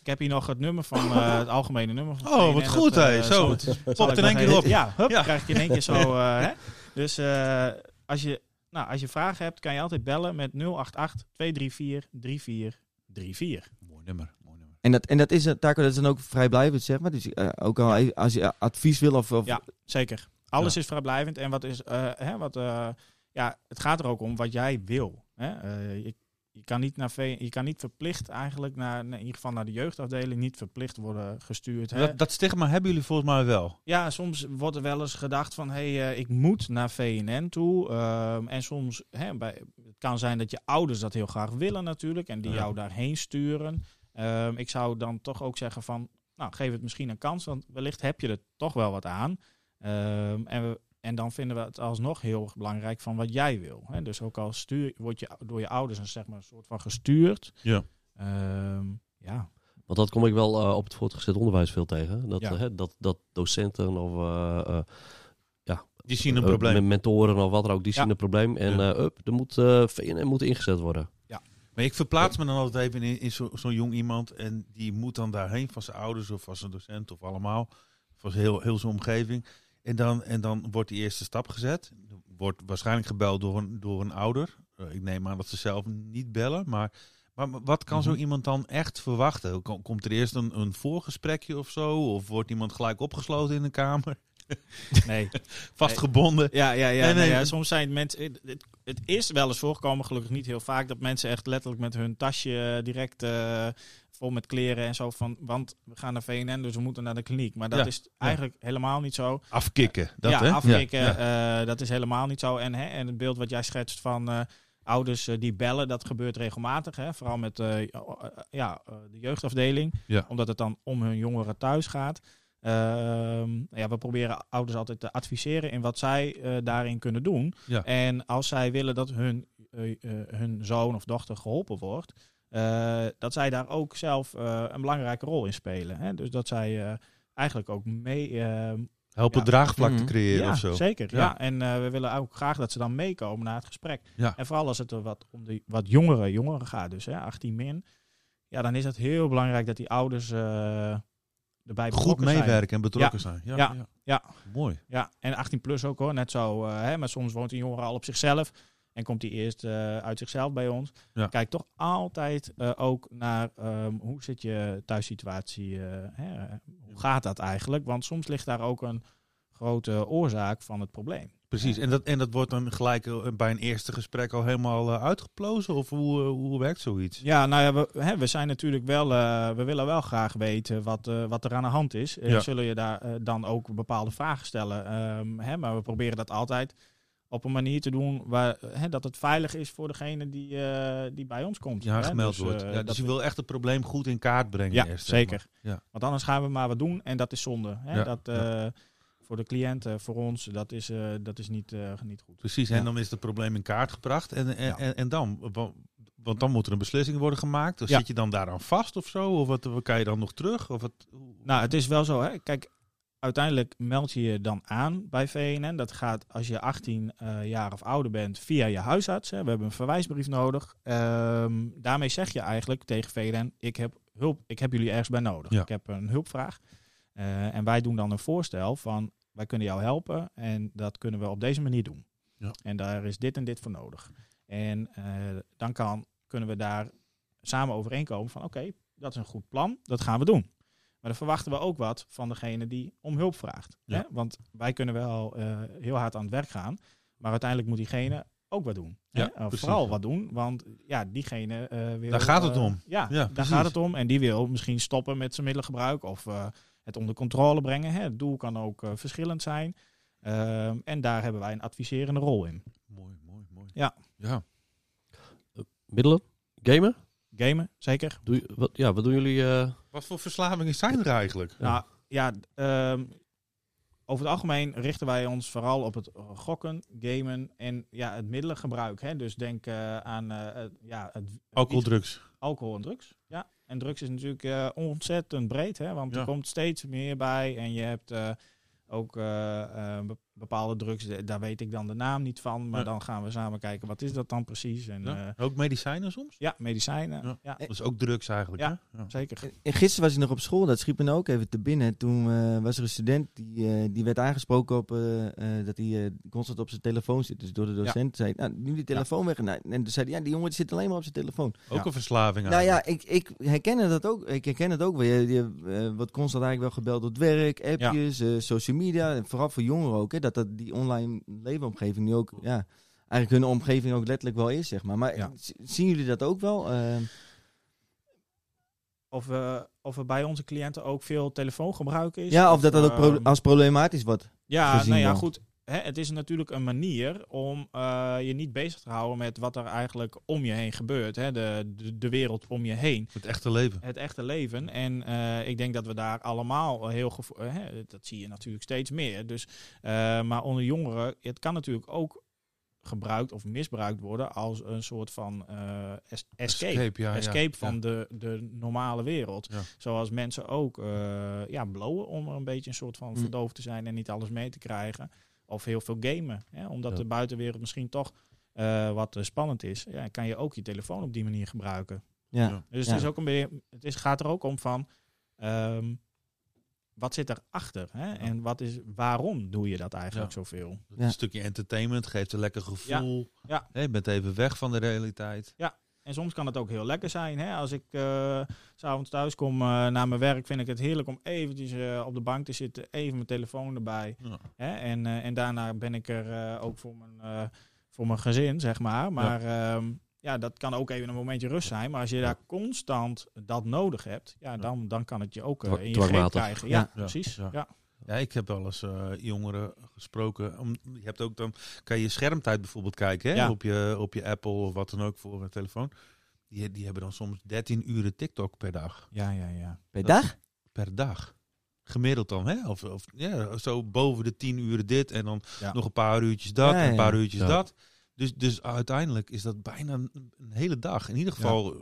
Ik heb hier nog het nummer van, eh, het algemene nummer van.
Oh,
VNN,
wat
dat,
goed,
eh,
hé. Zo.
zal ik- zal
popt
ik
in één
nog
keer
even-
op.
Ja, hup,
Ja.
krijg je in één keer zo. eh, hè? Dus eh, als, je, nou, als je vragen hebt, kan je altijd bellen met 088 234 3434.
Mooi nummer. Mooi nummer.
En, dat, en dat is, eh, Taco, dat is dan ook vrijblijvend zeg maar. Dus eh, ook al even- als je eh, advies wil of... of
Ja. Zeker. Alles
Ja.
is vrijblijvend. En wat is, eh, hè, wat, eh, ja, het gaat er ook om wat jij wil. Hè? Eh, je, je, kan niet naar V- je kan niet verplicht eigenlijk, naar, in ieder geval naar de jeugdafdeling, niet verplicht worden gestuurd. Hè?
Dat, dat stigma hebben jullie volgens mij wel.
Ja, soms wordt er wel eens gedacht van, hé, hey, eh, ik moet naar VNN toe. Ehm, en soms, hè, bij, het kan zijn dat je ouders dat heel graag willen natuurlijk en die
Ja.
jou daarheen sturen. Ehm, ik zou dan toch ook zeggen van, nou, geef het misschien een kans, want wellicht heb je er toch wel wat aan. Ehm, en, we, en dan vinden we het alsnog heel erg belangrijk van wat jij wil. Hè? Dus ook al stuur, word je door je ouders een, zeg maar, een soort van gestuurd.
Ja.
Ehm, ja.
Want dat kom ik wel eh, op het voortgezet onderwijs veel tegen. Dat,
Ja.
eh, dat, dat docenten of eh, eh,
Die zien een
eh,
probleem.
men- mentoren of wat dan ook, die
Ja.
zien een probleem. En
Ja.
eh, up, er moet, eh, VNM moet ingezet worden.
Maar ik verplaats me dan altijd even in, in zo- zo'n jong iemand. En die moet dan daarheen van zijn ouders of van zijn docent of allemaal. Van zijn heel, heel zijn omgeving. En dan, en dan wordt die eerste stap gezet. Wordt waarschijnlijk gebeld door een, door een ouder. Eh, Ik neem aan dat ze zelf niet bellen. Maar, maar maar wat kan zo iemand dan echt verwachten? Kom- Komt er eerst een, een voorgesprekje of zo? Of wordt iemand gelijk opgesloten in een kamer?
Nee.
Vastgebonden?
Ja, ja, ja.
Nee,
nou
nee.
ja, soms zijn het mensen. Het, het- het is wel eens voorgekomen, gelukkig niet heel vaak, dat mensen echt letterlijk met hun tasje eh, direct eh, vol met kleren en zo van. Want we gaan naar VNN, dus we moeten naar de kliniek. Maar dat
Ja,
is eigenlijk helemaal niet zo.
Afkikken. Dat,
ja,
hè?
afkikken,
Ja, ja.
eh, dat is helemaal niet zo. En, hè, en het beeld wat jij schetst van eh, ouders eh, die bellen, dat gebeurt regelmatig. Hè? Vooral met eh, ja, eh, de jeugdafdeling,
Ja.
omdat het dan om hun jongeren thuis gaat. Ehm, ja, we proberen ouders altijd te adviseren in wat zij eh, daarin kunnen doen.
Ja.
En als zij willen dat hun, eh, eh, hun zoon of dochter geholpen wordt, eh, eh, dat zij daar ook zelf eh, een belangrijke rol in spelen. Hè? Dus dat zij eh, eigenlijk ook mee eh,
Help het
Ja.
draagvlak te
Mhm.
creëren
ja,
of zo.
Zeker, ja.
Ja.
En eh, we willen ook graag dat ze dan meekomen naar het gesprek.
Ja.
En vooral als het er wat om de wat jongere jongeren gaat, dus hè, 18 min. Ja, dan is het heel belangrijk dat die ouders eh, erbij
Goed
betrokken zijn.
meewerken en betrokken zijn. Ja, ja.
Ja. Ja.
Mooi.
Ja, en 18 plus ook hoor. Net zo, eh, hè, maar soms woont een jongere al op zichzelf. En komt die eerst eh, uit zichzelf bij ons.
Ja.
Kijk toch altijd eh, ook naar ehm, hoe zit je thuissituatie. eh, hè, hoe gaat dat eigenlijk? Want soms ligt daar ook een grote oorzaak van het probleem.
Precies. En, dat, en dat wordt dan gelijk eh, bij een eerste gesprek al helemaal eh, uitgeplozen? Of hoe, eh, hoe werkt zoiets?
Ja, nou ja, we, hè, we zijn natuurlijk wel, eh, we willen wel graag weten wat, eh, wat er aan de hand is. Eh,
Ja.
Zullen je daar eh, dan ook bepaalde vragen stellen? Ehm, hè, maar we proberen dat altijd op een manier te doen waar, hè, dat het veilig is voor degene die, eh, die bij ons komt.
Ja,
hè.
gemeld
Dus,
wordt.
eh,
Ja, dus
dat-
je wil echt het probleem goed in kaart brengen.
ja
eerst, zeg maar.
zeker.
Ja.
Want anders gaan we maar wat doen en dat is zonde. Hè?
Ja,
Dat, eh, Voor de cliënten, voor ons, dat is, eh, dat is niet, eh, niet goed.
Precies,
Ja.
en dan is het probleem in kaart gebracht. En, en,
Ja.
en, en dan? Wa- Want dan moet er een beslissing worden gemaakt. Dus
Ja.
Zit je dan daaraan vast of zo? Of wat, wat kan je dan nog terug? Of wat, hoe-
Nou, het is wel zo, hè. Kijk, uiteindelijk meld je je dan aan bij VNN. Dat gaat als je 18 eh, jaar of ouder bent via je huisarts. Hè. We hebben een verwijsbrief nodig. Ehm, daarmee zeg je eigenlijk tegen VNN, ik heb hulp, ik heb jullie ergens bij nodig.
Ja.
Ik heb een hulpvraag. Eh, en wij doen dan een voorstel van, wij kunnen jou helpen en dat kunnen we op deze manier doen.
Ja.
En daar is dit en dit voor nodig. En eh, dan kan, kunnen we daar samen overeenkomen van, oké, dat is een goed plan, dat gaan we doen. Maar dan verwachten we ook wat van degene die om hulp vraagt.
Ja.
Hè? Want wij kunnen wel eh, heel hard aan het werk gaan, maar uiteindelijk moet diegene ook wat doen. hè?
Ja,
Of
precies.
vooral wat doen, want ja, diegene eh wil...
Daar gaat het
eh,
om.
Ja,
Ja,
daar
precies.
gaat het om. En die wil misschien stoppen met zijn middelengebruik of eh, het onder controle brengen. Hè? Het doel kan ook eh, verschillend zijn. Ehm, en daar hebben wij een adviserende rol in.
Mooi, mooi, mooi.
Ja.
ja.
Middelen? Gamen?
Gamen, zeker.
Doe, je- wat, ja, wat doen jullie? eh,
Wat voor verslavingen zijn er eigenlijk?
Ja.
Nou ja, ehm, over het algemeen richten wij ons vooral op het gokken, gamen en ja, het middelengebruik. Hè? Dus denk eh, aan eh, het- ja, het
Alcohol, drugs.
alcohol en drugs. Ja. En drugs is natuurlijk eh, ontzettend breed, hè? want
Ja.
er komt steeds meer bij. En je hebt eh, ook eh, eh, be- bepaalde drugs, eh, daar weet ik dan de naam niet van. Maar
Ja.
dan gaan we samen kijken, wat is dat dan precies? En, eh, ja.
Ja. Ook medicijnen soms?
ja, medicijnen.
Ja.
Ja,
Dat is ook drugs eigenlijk.
Ja.
hè? Ja.
zeker.
En- En gisteren was ik nog op school, dat schiep me nou ook even te binnen. Toen eh, was er een student die, eh, die werd aangesproken op eh, eh, dat hij eh, constant op zijn telefoon zit. Dus door de docent zei, nou, nu die telefoon weg. En, hij- en toen zei hij, ja, die jongen die zit alleen maar op zijn telefoon.
Ook een verslaving
Nou ja, ik, ik herken dat ook. Ik herken het ook wel. Je, je, eh, wordt constant eigenlijk wel gebeld door het werk, appjes, eh, social media. En vooral voor jongeren ook. Hè, dat, dat die online leefomgeving nu ook, ja, eigenlijk hun omgeving ook letterlijk wel is, zeg maar. Maar
Ja.
z- zien jullie dat ook wel? Eh,
Of, we, of er bij onze cliënten ook veel telefoongebruik is.
ja, of dat dat ook proble-
ehm,
als problematisch wordt.
Ja,
gezien
nou ja,
dan.
goed. Hè, het is natuurlijk een manier om eh, je niet bezig te houden met wat er eigenlijk om je heen gebeurt. Hè? De, de, de wereld om je heen.
Het echte leven.
Het echte leven. En eh, ik denk dat we daar allemaal heel gevo- eh, hè, dat zie je natuurlijk steeds meer. Dus, eh, maar onder jongeren, het kan natuurlijk ook gebruikt of misbruikt worden als een soort van eh, es- escape
ja, ja.
escape van
Ja.
de, de normale wereld.
Ja.
Zoals mensen ook eh, ja, blowen om er een beetje een soort van
Mm.
verdoofd te zijn en niet alles mee te krijgen. Of heel veel gamen. Hè? Omdat
Ja.
de buitenwereld misschien toch eh, wat eh, spannend is. Ja, kan je ook je telefoon op die manier gebruiken.
Ja.
Ja.
Dus
Ja.
het, is ook een beetje, het is, gaat er ook om van... ehm, wat zit erachter? Hè? En wat is, waarom doe je dat eigenlijk
Ja.
zoveel?
Een stukje entertainment geeft een lekker gevoel.
Ja.
Hè, je bent even weg van de realiteit.
En soms kan het ook heel lekker zijn. Hè? Als ik eh, s s'avonds thuis kom eh naar mijn werk, vind ik het heerlijk om eventjes eh, op de bank te zitten. Even mijn telefoon erbij.
Ja.
Hè? En, eh, en daarna ben ik er eh, ook voor mijn, eh, voor mijn gezin, zeg maar. Maar ja. ja, dat kan ook even een momentje rust zijn. Maar als je daar constant dat nodig hebt, ja, dan, dan kan het je ook eh,
Dwa-
in je
dwangmatig.
greep krijgen. Ja,
Ja.
precies.
Ja.
Ja.
Ja, ik heb wel eens eh, jongeren gesproken. Om, je hebt ook dan, kan je schermtijd bijvoorbeeld kijken hè?
Ja.
Op, je, op je Apple of wat dan ook voor een telefoon. Die, die hebben dan soms 13 uren TikTok per dag.
ja, ja, ja.
Per dag?
Per dag. Gemiddeld dan, hè? Of, of ja, zo boven de 10 uren dit en dan
Ja.
nog een paar uurtjes dat
Ja,
en een
ja.
paar uurtjes
Ja.
dat. Dus, dus uiteindelijk is dat bijna een, een hele dag. In ieder geval eh,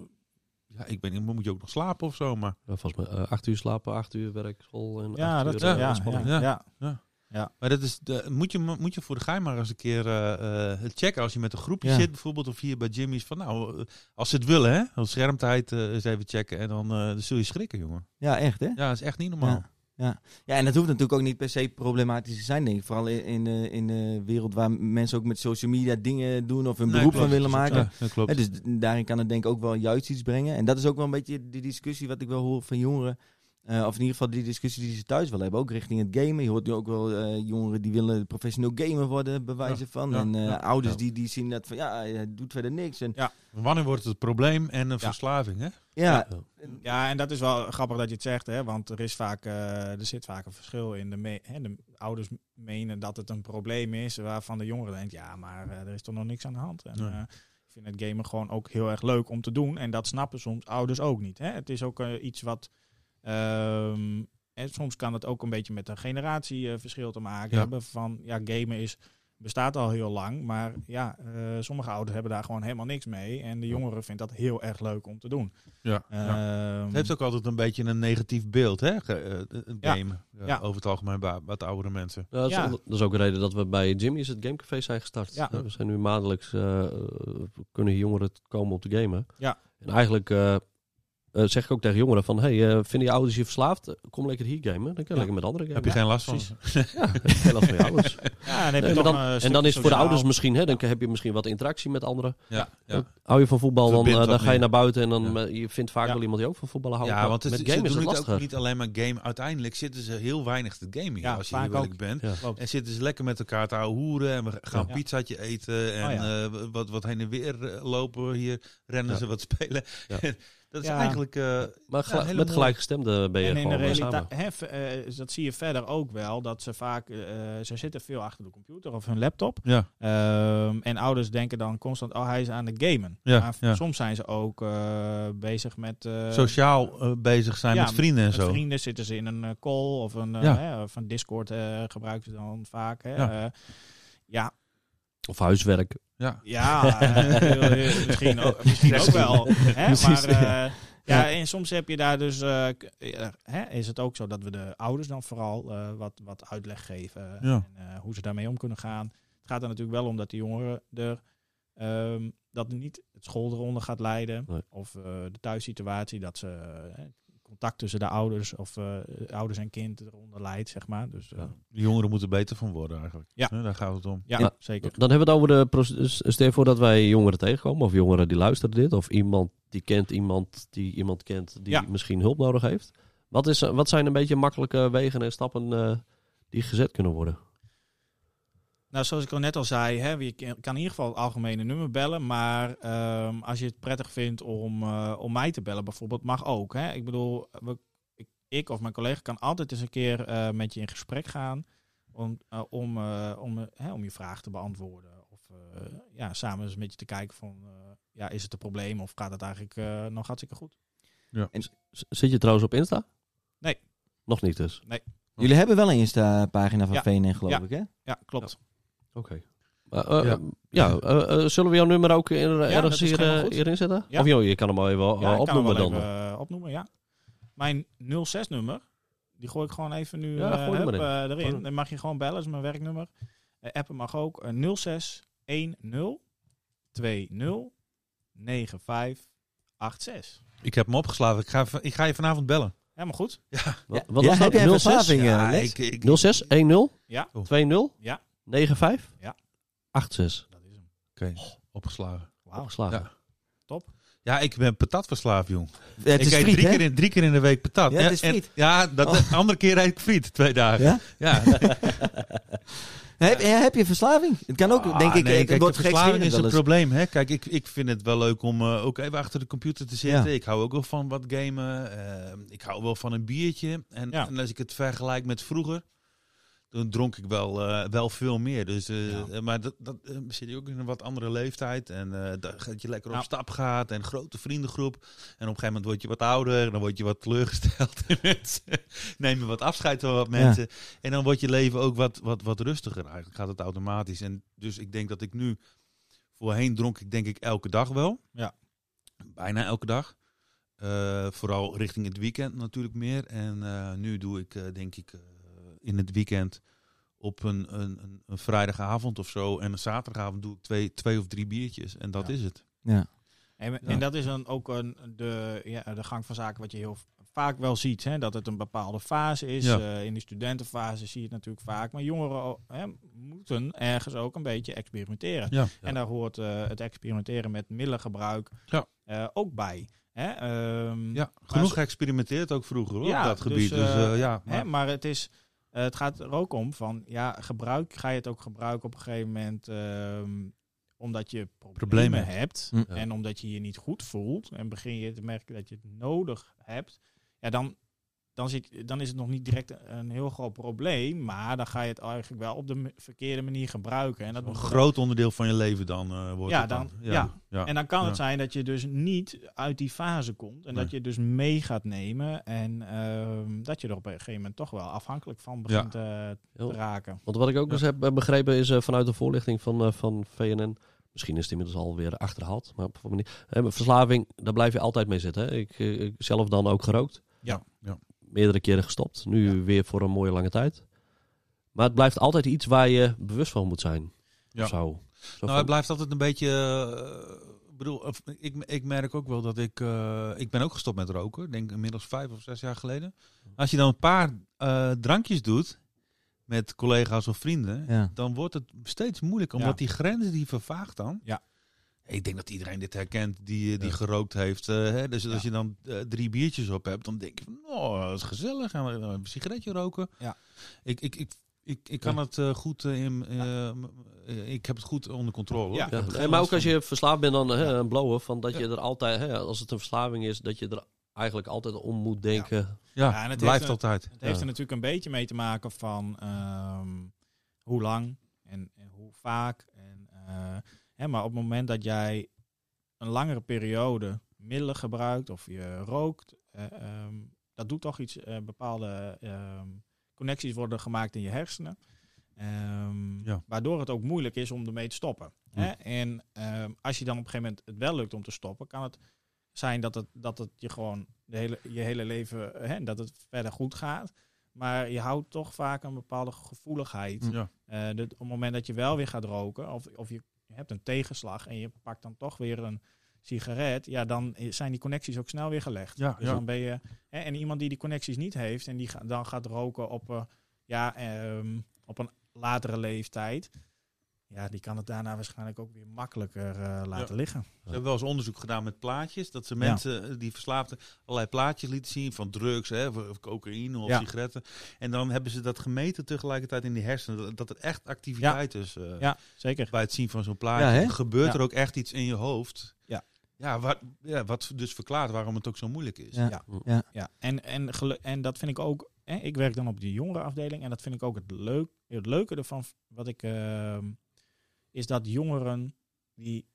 Ja, ik ben, moet je ook nog slapen of zo, maar...
Ja, volgens mij eh, acht uur slapen, acht uur werk, school en
Ja,
acht
dat
uur,
ja,
eh,
ja,
ontspanning.
ja, ja.
Maar dat is de, moet, je, moet je voor de gein maar eens een keer eh, eh, checken als je met een groepje
Ja.
zit, bijvoorbeeld, of hier bij Jimmy's. Van nou, eh, als ze het willen, hè, dan schermtijd eh, eens even checken en dan, eh, dan zul je schrikken, jongen.
Ja, echt hè?
Ja, dat is echt niet normaal.
Ja, en dat hoeft natuurlijk ook niet per se problematisch te zijn, denk ik. Vooral in, in, de- in de wereld waar mensen ook met social media dingen doen of hun
Nee,
beroep
klopt.
van willen maken.
Ja, dat klopt.
Hè, dus d- daarin kan het denk ik ook wel juist iets brengen. En dat is ook wel een beetje de discussie wat ik wel hoor van jongeren. Eh, of in ieder geval die discussie die ze thuis wel hebben. Ook richting het gamen. Je hoort nu ook wel eh, jongeren die willen professioneel gamer worden, bij wijze van.
ja,
en eh,
ja,
ouders
ja.
Die, die zien dat van, ja, het doet verder niks. En,
Wanneer wordt het een probleem en een
Ja.
verslaving, hè?
ja,
Ja, en dat is wel grappig dat je het zegt, hè? want er, is vaak, eh, er zit vaak een verschil in. De, me- hè, de ouders menen dat het een probleem is, waarvan de jongeren denken, ja, maar eh, er is toch nog niks aan de hand. En,
Nee.
eh, ik vind het gamen gewoon ook heel erg leuk om te doen en dat snappen soms ouders ook niet. Hè? Het is ook eh, iets wat... ehm, en soms kan het ook een beetje met een generatieverschil eh, te maken
Ja.
hebben van, ja, gamen is... Bestaat al heel lang, maar ja, eh, sommige ouders hebben daar gewoon helemaal niks mee. En de jongeren vindt dat heel erg leuk om te doen.
Ja.
Ehm,
Het heeft ook altijd een beetje een negatief beeld, hè? ge- eh, het
Ja.
gamen. Ja,
Ja.
Over het algemeen bij wat oudere mensen.
Ja, dat,
Ja.
Is, dat is ook een reden dat we bij Jimmy's het gamecafé zijn gestart.
Ja.
We zijn nu maandelijks, eh, eh, kunnen jongeren komen op te gamen.
Ja.
En eigenlijk eh, eh, zeg ik ook tegen jongeren van, hey, eh, vinden je ouders je verslaafd? Eh, Kom lekker hier gamen, dan kan je
Ja.
lekker met anderen
Heb
gamen.
je geen last van?
precies. Ja, heb je geen last van je ouders.
ja, dan heb je
Nee,
toch
maar dan-
een
en
stukje
dan is het voor de
eh, sociaal.
ouders misschien, hè, dan heb je misschien wat interactie met anderen.
Ja, ja.
Hou je van voetbal, dan,
Verbindt
eh,
wat
dan ga je
meer.
naar buiten en dan
Ja.
eh, je vindt vaak
Ja.
wel iemand die ook van voetballen houdt.
Ja,
Maar
want het,
met
ze
gamen is
doen
het
het ook
lastiger.
niet alleen maar game. Uiteindelijk zitten ze heel weinig te gamen
Ja,
als je
vaak
heel eerlijk
ook.
bent.
Ja.
Klopt.
En zitten ze lekker met elkaar te ouwe hoeren en we gaan
Ja.
pizzaatje eten en
Oh ja.
eh, wat, wat heen en weer eh, lopen we hier, rennen
Ja.
ze wat spelen.
Ja.
dat is
Ja.
eigenlijk... eh,
Maar gel-
Ja, hele
met
mooie.
gelijkgestemden ben je
En in de
gewoon weer samen.
realiteit, hè, v- eh, dat zie je verder ook wel, dat ze vaak, eh, ze zitten veel achter de computer of hun laptop.
ja,
Ehm, en ouders denken dan constant, oh hij is aan het gamen.
Ja,
maar
ja.
soms zijn ze ook eh, bezig met... eh,
sociaal eh, bezig zijn
ja,
met vrienden en
met
zo.
vrienden zitten ze in een eh, call of een eh,
Ja.
hè, of een Discord eh, gebruiken ze dan vaak. Hè.
Ja.
Eh, ja,
Of huiswerk.
Ja.
Ja, eh, heel- heel- misschien ook, misschien ook wel. Hè? Maar eh, ja, en soms heb je daar dus. eh, k- ja, hè, is het ook zo dat we de ouders dan vooral eh, wat, wat uitleg geven
Ja.
en eh, hoe ze daarmee om kunnen gaan. Het gaat er natuurlijk wel om dat de jongeren er ehm, dat niet het school eronder gaat leiden.
Nee.
Of eh, de thuissituatie, dat ze eh, hè, contact tussen de ouders of eh, ouders en kind eronder leidt, zeg maar. Dus eh,
Ja.
De jongeren moeten beter van worden eigenlijk.
Ja.
Eh, daar gaat het om.
ja,
Ja.
zeker.
Dan hebben we het over de proces. Stel je voor dat wij jongeren tegenkomen, of jongeren die luisteren dit, of iemand die kent iemand die iemand kent die
Ja.
misschien hulp nodig heeft. Wat, is, eh, wat zijn een beetje makkelijke wegen en stappen eh, die gezet kunnen worden?
Nou, zoals ik al net al zei, hè, je kan in ieder geval het algemene nummer bellen. Maar ehm, als je het prettig vindt om, eh, om mij te bellen, bijvoorbeeld, mag ook. Hè? Ik bedoel, we, ik, ik of mijn collega kan altijd eens een keer eh, met je in gesprek gaan. Om, eh, om, eh, om, eh, hè, om je vraag te beantwoorden. Of eh, ja, samen eens een beetje te kijken van, eh, ja, is het een probleem of gaat het eigenlijk eh, nog hartstikke goed?
Z- zit je trouwens op Insta?
Nee.
Nog niet dus?
jullie hebben wel een Insta-pagina van
Ja.
VNN geloof
Ja.
ik hè?
Ja, klopt.
Oké. Maar, eh,
Ja.
eh, ja, eh, eh, zullen we jouw nummer ook in-
dat
ergens
is
hier,
helemaal
eh,
goed.
hierin zetten?
Ja.
Of joh, je kan hem al even eh,
Ja, ik kan hem
opnoemen
wel
dan.
even eh, opnoemen, ja. Mijn 06-nummer, die gooi ik gewoon even nu
Ja,
eh,
gooi
hup,
hem erin.
eh,
Gooi
erin.
hem.
Dan mag je gewoon bellen, dat is mijn werknummer. Eh, appen mag ook. Eh, 06 10 20 95 86.
Ik heb hem opgeslagen. Ik ga, v- ik ga je vanavond bellen.
Helemaal goed. eh,
Wat,
Ja.
wat
Ja,
was
heb jij
dat? 06?
verslaving, eh, Les?
ik, ik,
06 10
Ja.
20
Ja.
95
Ja.
86
Dat is hem.
Oké, opgeslagen.
Wauw.
geslagen.
Ja.
Top.
Ja, ik ben patatverslaafd, jong.
Ja, het
ik
is
eet
friet
drie,
hè?
keer in, drie keer in de week patat.
Ja, het
En-
is
en-
friet.
ja, dat,
Oh.
andere keer eet ik friet, twee dagen.
Ja?
Ja,
Heb, ja, heb je verslaving? Het kan ook,
Ah,
denk ik.
nee,
het
kijk,
wordt
de verslaving is
gekscherend
een
wel eens.
probleem. Hè? Kijk, ik, ik vind het wel leuk om eh, ook even achter de computer te zitten.
Ja.
Ik hou ook wel van wat gamen. eh, ik hou wel van een biertje. En,
Ja.
en als ik het vergelijk met vroeger, toen dronk ik wel, eh, wel veel meer. Dus, eh,
Ja.
eh, Maar dat, dat eh, zit je ook in een wat andere leeftijd. En eh, dat dat je lekker op
Nou.
stap gaat en grote vriendengroep. En op een gegeven moment word je wat ouder. En dan word je wat teleurgesteld in mensen. Neem je wat afscheid van wat
Ja.
mensen. En dan wordt je leven ook wat, wat, wat rustiger. Eigenlijk gaat het automatisch. En dus ik denk dat ik nu... Voorheen dronk ik denk ik elke dag wel.
Ja.
Bijna elke dag. Eh, vooral richting het weekend natuurlijk meer. En eh, nu doe ik, eh, denk ik, eh, in het weekend op een, een, een- een vrijdagavond of zo. En een zaterdagavond doe ik twee, twee of drie biertjes. En dat
Ja.
is het.
Ja.
En,
Ja.
en dat is dan ook een, de, ja, de gang van zaken wat je heel vaak wel ziet. Hè? Dat het een bepaalde fase is.
Ja.
Eh, in de studentenfase zie je het natuurlijk vaak. Maar jongeren oh, hè, moeten ergens ook een beetje experimenteren.
Ja.
En daar hoort eh, het experimenteren met middelengebruik
Ja.
eh, ook bij. Hè? Ehm,
Ja,
Maar
genoeg
ze-
geëxperimenteerd ook vroeger hoor,
Ja,
op dat
dus,
gebied. Dus,
eh,
eh, ja,
Hè,
maar,
maar het, is, eh, het gaat er ook om van, ja, gebruik, ga je het ook gebruiken op een gegeven moment ehm, omdat je problemen,
Problemen. Mm.
hebt
Hm.
Ja.
en omdat je je niet goed voelt en begin je te merken dat je het nodig hebt, ja, dan, dan, zit, dan is het nog niet direct een heel groot probleem, maar dan ga je het eigenlijk wel op de m- verkeerde manier gebruiken. En dat
een
moet-
groot onderdeel van je leven dan eh, wordt
Ja,
het
dan-
Ja,
ja.
ja.
En dan kan
Ja.
het zijn dat je dus niet uit die fase komt. En dat
Nee.
je dus mee gaat nemen. En ehm, dat je er op een gegeven moment toch wel afhankelijk van begint eh,
Heel-
te raken.
Want wat ik ook eens heb eh, begrepen is eh, vanuit de voorlichting van, eh, van VNN. Misschien is het inmiddels alweer achterhaald. Maar op een manier, hè, maar verslaving, daar blijf je altijd mee zitten. Hè. Ik, eh, ik zelf dan ook gerookt.
Ja,
ja.
Meerdere keren gestopt. Nu weer voor een mooie lange tijd. Maar het blijft altijd iets waar je bewust van moet zijn.
Ja.
Of zo. Zo
Nou,
van-
het blijft altijd een beetje. eh, ik bedoel, of- ik, ik merk ook wel dat ik. eh, ik ben ook gestopt met roken. Ik Denk inmiddels vijf of zes jaar geleden. Als je dan een paar eh, drankjes doet. met collega's of vrienden.
Ja.
dan wordt het steeds moeilijker.
Ja.
Omdat die grenzen die vervaagt dan.
Ja.
Ik denk dat iedereen dit herkent die, eh, die gerookt heeft. eh, hè? Dus als je dan eh, drie biertjes op hebt, dan denk je van, oh, dat is gezellig. Gaan we eh, een sigaretje roken?
Ja.
Ik, ik, ik, ik, ik kan het eh, goed eh, in. eh, m- eh, ik heb het goed onder controle. hoor.
Ja.
Ik
Ja,
heb het
nee,
geen
maar ook
last
als
van.
je verslaafd bent aan hè, aan blowen, van dat je er altijd, hè, als het een verslaving is, dat je er eigenlijk altijd om moet denken.
Ja,
Ja, en
het
het
blijft
heeft
altijd.
Het heeft
Ja.
er natuurlijk een beetje mee te maken van ehm, hoe lang en, en hoe vaak. En, eh, hè, maar op het moment dat jij een langere periode middelen gebruikt of je rookt, eh, ehm, dat doet toch iets. eh, bepaalde ehm, connecties worden gemaakt in je hersenen. Ehm,
Ja.
Waardoor het ook moeilijk is om ermee te stoppen. Hè? En ehm, als je dan op een gegeven moment het wel lukt om te stoppen, kan het zijn dat het, dat het je gewoon de hele, je hele leven, hè, dat het verder goed gaat. Maar je houdt toch vaak een bepaalde gevoeligheid.
Ja.
Eh, dat op het moment dat je wel weer gaat roken, of, of je hebt een tegenslag en je pakt dan toch weer een sigaret, ja, dan i- zijn die connecties ook snel weer gelegd.
Ja,
dus
ja.
dan ben je. Hè, en iemand die die connecties niet heeft en die ga- dan gaat roken op, eh, ja, ehm, op een latere leeftijd. Ja, die kan het daarna waarschijnlijk ook weer makkelijker eh, laten liggen.
Ze hebben wel eens onderzoek gedaan met plaatjes. Dat ze mensen eh, die verslaafden allerlei plaatjes lieten zien. Van drugs, hè, of- of cocaïne of
Ja.
sigaretten. En dan hebben ze dat gemeten tegelijkertijd in die hersenen. dat- Dat er echt activiteit is. eh,
Ja, zeker.
Bij het zien van zo'n
Ja,
plaatje.
hè?
Dan gebeurt
Ja.
er ook echt iets in je hoofd.
Ja.
Ja, wat, ja, wat dus verklaart waarom het ook zo moeilijk is.
Ja.
Ja, en, en, gelu- en dat vind ik ook. Hè, ik werk dan op die jongerenafdeling. En dat vind ik ook het, leuk, het leuke ervan. Wat ik. ehm, is dat jongeren. die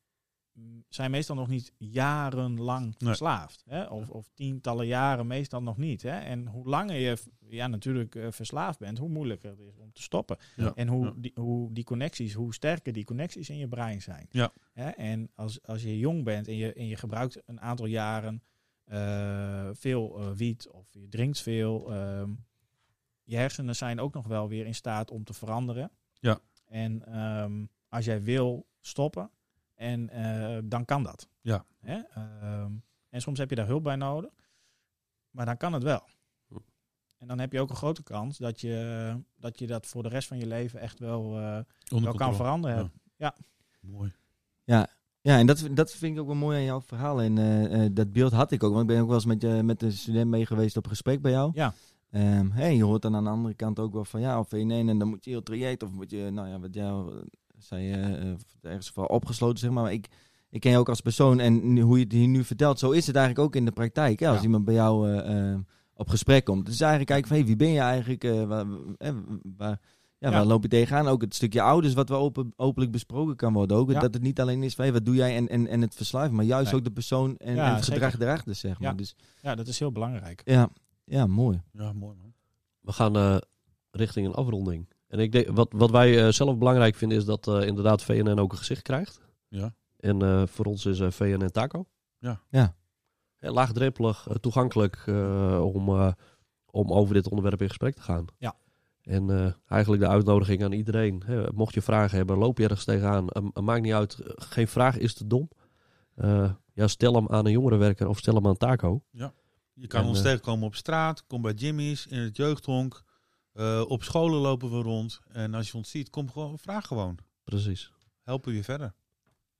mm, zijn meestal nog niet jarenlang verslaafd. Hè? Of, of tientallen jaren meestal nog niet. Hè? En hoe langer je v- ja, natuurlijk eh, verslaafd bent, hoe moeilijker het is om te stoppen.
Ja.
En hoe,
Ja.
die, hoe die connecties, hoe sterker die connecties in je brein zijn.
Ja.
Hè? En als, als je jong bent en je, en je gebruikt een aantal jaren eh, veel eh, wiet of je drinkt veel. ehm, je hersenen zijn ook nog wel weer in staat om te veranderen.
Ja.
En ehm, als jij wil stoppen, en, eh, dan kan dat.
Ja.
Hè? Ehm, en soms heb je daar hulp bij nodig, maar dan kan het wel.
Hm.
En dan heb je ook een grote kans dat je dat, je dat voor de rest van je leven echt wel, eh,
Onder
wel kan
controle.
veranderen.
Ja. Mooi.
Ja, en dat, dat vind ik ook wel mooi aan jouw verhaal. En eh, eh, dat beeld had ik ook. Want ik ben ook wel eens met, je met een student mee geweest op gesprek bij jou.
Ja.
Ehm, hey, je hoort dan aan de andere kant ook wel van ja, of één en dan moet je heel traject. Of moet je, nou ja, wat jou eh, zei, eh, eh, ergens voor opgesloten zeg maar. maar ik, ik ken je ook als persoon en nu- hoe je het hier nu vertelt, zo is het eigenlijk ook in de praktijk. Hè? Als
Ja.
iemand bij jou eh, eh, op gesprek komt. Het is eigenlijk kijken van hey, wie ben je eigenlijk? eh, waar, eh, waar, ja,
Ja.
waar loop je tegenaan? Ook het stukje ouders wat wel open, openlijk besproken kan worden. Ook
Ja.
dat het niet alleen is van hey, wat doe jij en, en, en het verslaving, maar juist
Nee.
ook de persoon en,
Ja,
en het
zeker.
gedrag erachter zeg maar.
Ja.
Dus
Ja, dat is heel belangrijk.
ja, ja mooi.
Ja, mooi man.
We gaan eh, richting een afronding. En ik denk, wat, wat wij eh, zelf belangrijk vinden is dat eh, inderdaad VNN ook een gezicht krijgt.
Ja.
En eh, voor ons is eh, VNN Taco.
Ja.
Ja.
Hè, eh, laagdrempelig, eh, toegankelijk eh, om, eh, om over dit onderwerp in gesprek te gaan.
Ja.
En eh, eigenlijk de uitnodiging aan iedereen. Hè, mocht je vragen hebben, loop je ergens tegenaan. Eh, eh, maakt niet uit, eh, geen vraag is te dom. Eh, ja, stel hem aan een jongerenwerker of stel hem aan Taco.
Je kan
En,
ons
eh,
tegenkomen op straat, kom bij Jimmy's, in het jeugdhonk. eh, op scholen lopen we rond. En als je ons ziet, kom gewoon, vraag gewoon.
Precies.
Helpen we je verder.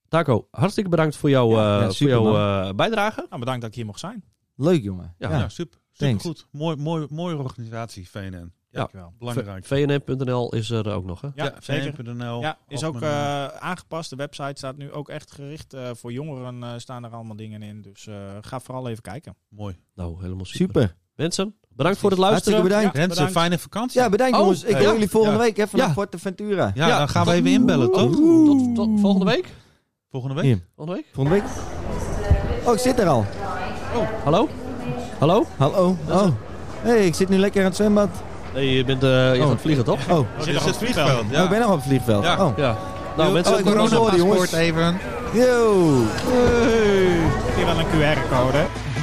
Taco, hartstikke bedankt voor jouw
Ja,
eh,
ja,
voor
super,
jouw
man.
eh, bijdrage.
Nou, bedankt dat ik hier mocht zijn.
Leuk, jongen.
Ja.
Ja, nou, super, super
thanks.
goed. Mooi, mooi, mooie organisatie, VNN.
Dankjewel.
Belangrijk.
VNM.nl is er ook nog, hè?
Ja, zeker.
VNN.nl,
Ja, is ook
Algemeen,
eh, aangepast. De website staat nu ook echt gericht eh, voor jongeren. eh, staan er allemaal dingen in. Dus eh, ga vooral even kijken.
mooi.
Nou, helemaal super.
Super.
Mensen, bedankt voor het luisteren.
Hartstikke bedankt.
Ja,
Rensen,
bedankt.
fijne vakantie.
Ja, bedankt,
Oh,
jongens. Ik
eh,
wil
ja.
jullie volgende
Ja.
week hè, vanaf
Ja.
Forteventura.
Ja,
Ja.
dan gaan we even inbellen, toch?
Tot, tot volgende week.
Volgende
Hier.
week.
Volgende week.
Volgende week. Oh, ik zit er al.
Hallo? Hallo?
Hallo. Oh. hey, ik zit nu lekker aan het zwembad.
Nee, je, bent, eh, je
Oh.
gaat vliegen, toch?
Oh,
Oh,
zit
dit is
nog
het vliegveld.
oh,
Ja.
ik ben nog op het vliegveld.
Ja.
Oh.
Ja. Nou, mensen,
oh, ik hoor ons horen, jongens.
even.
Yo.
Hier wel een QR-code.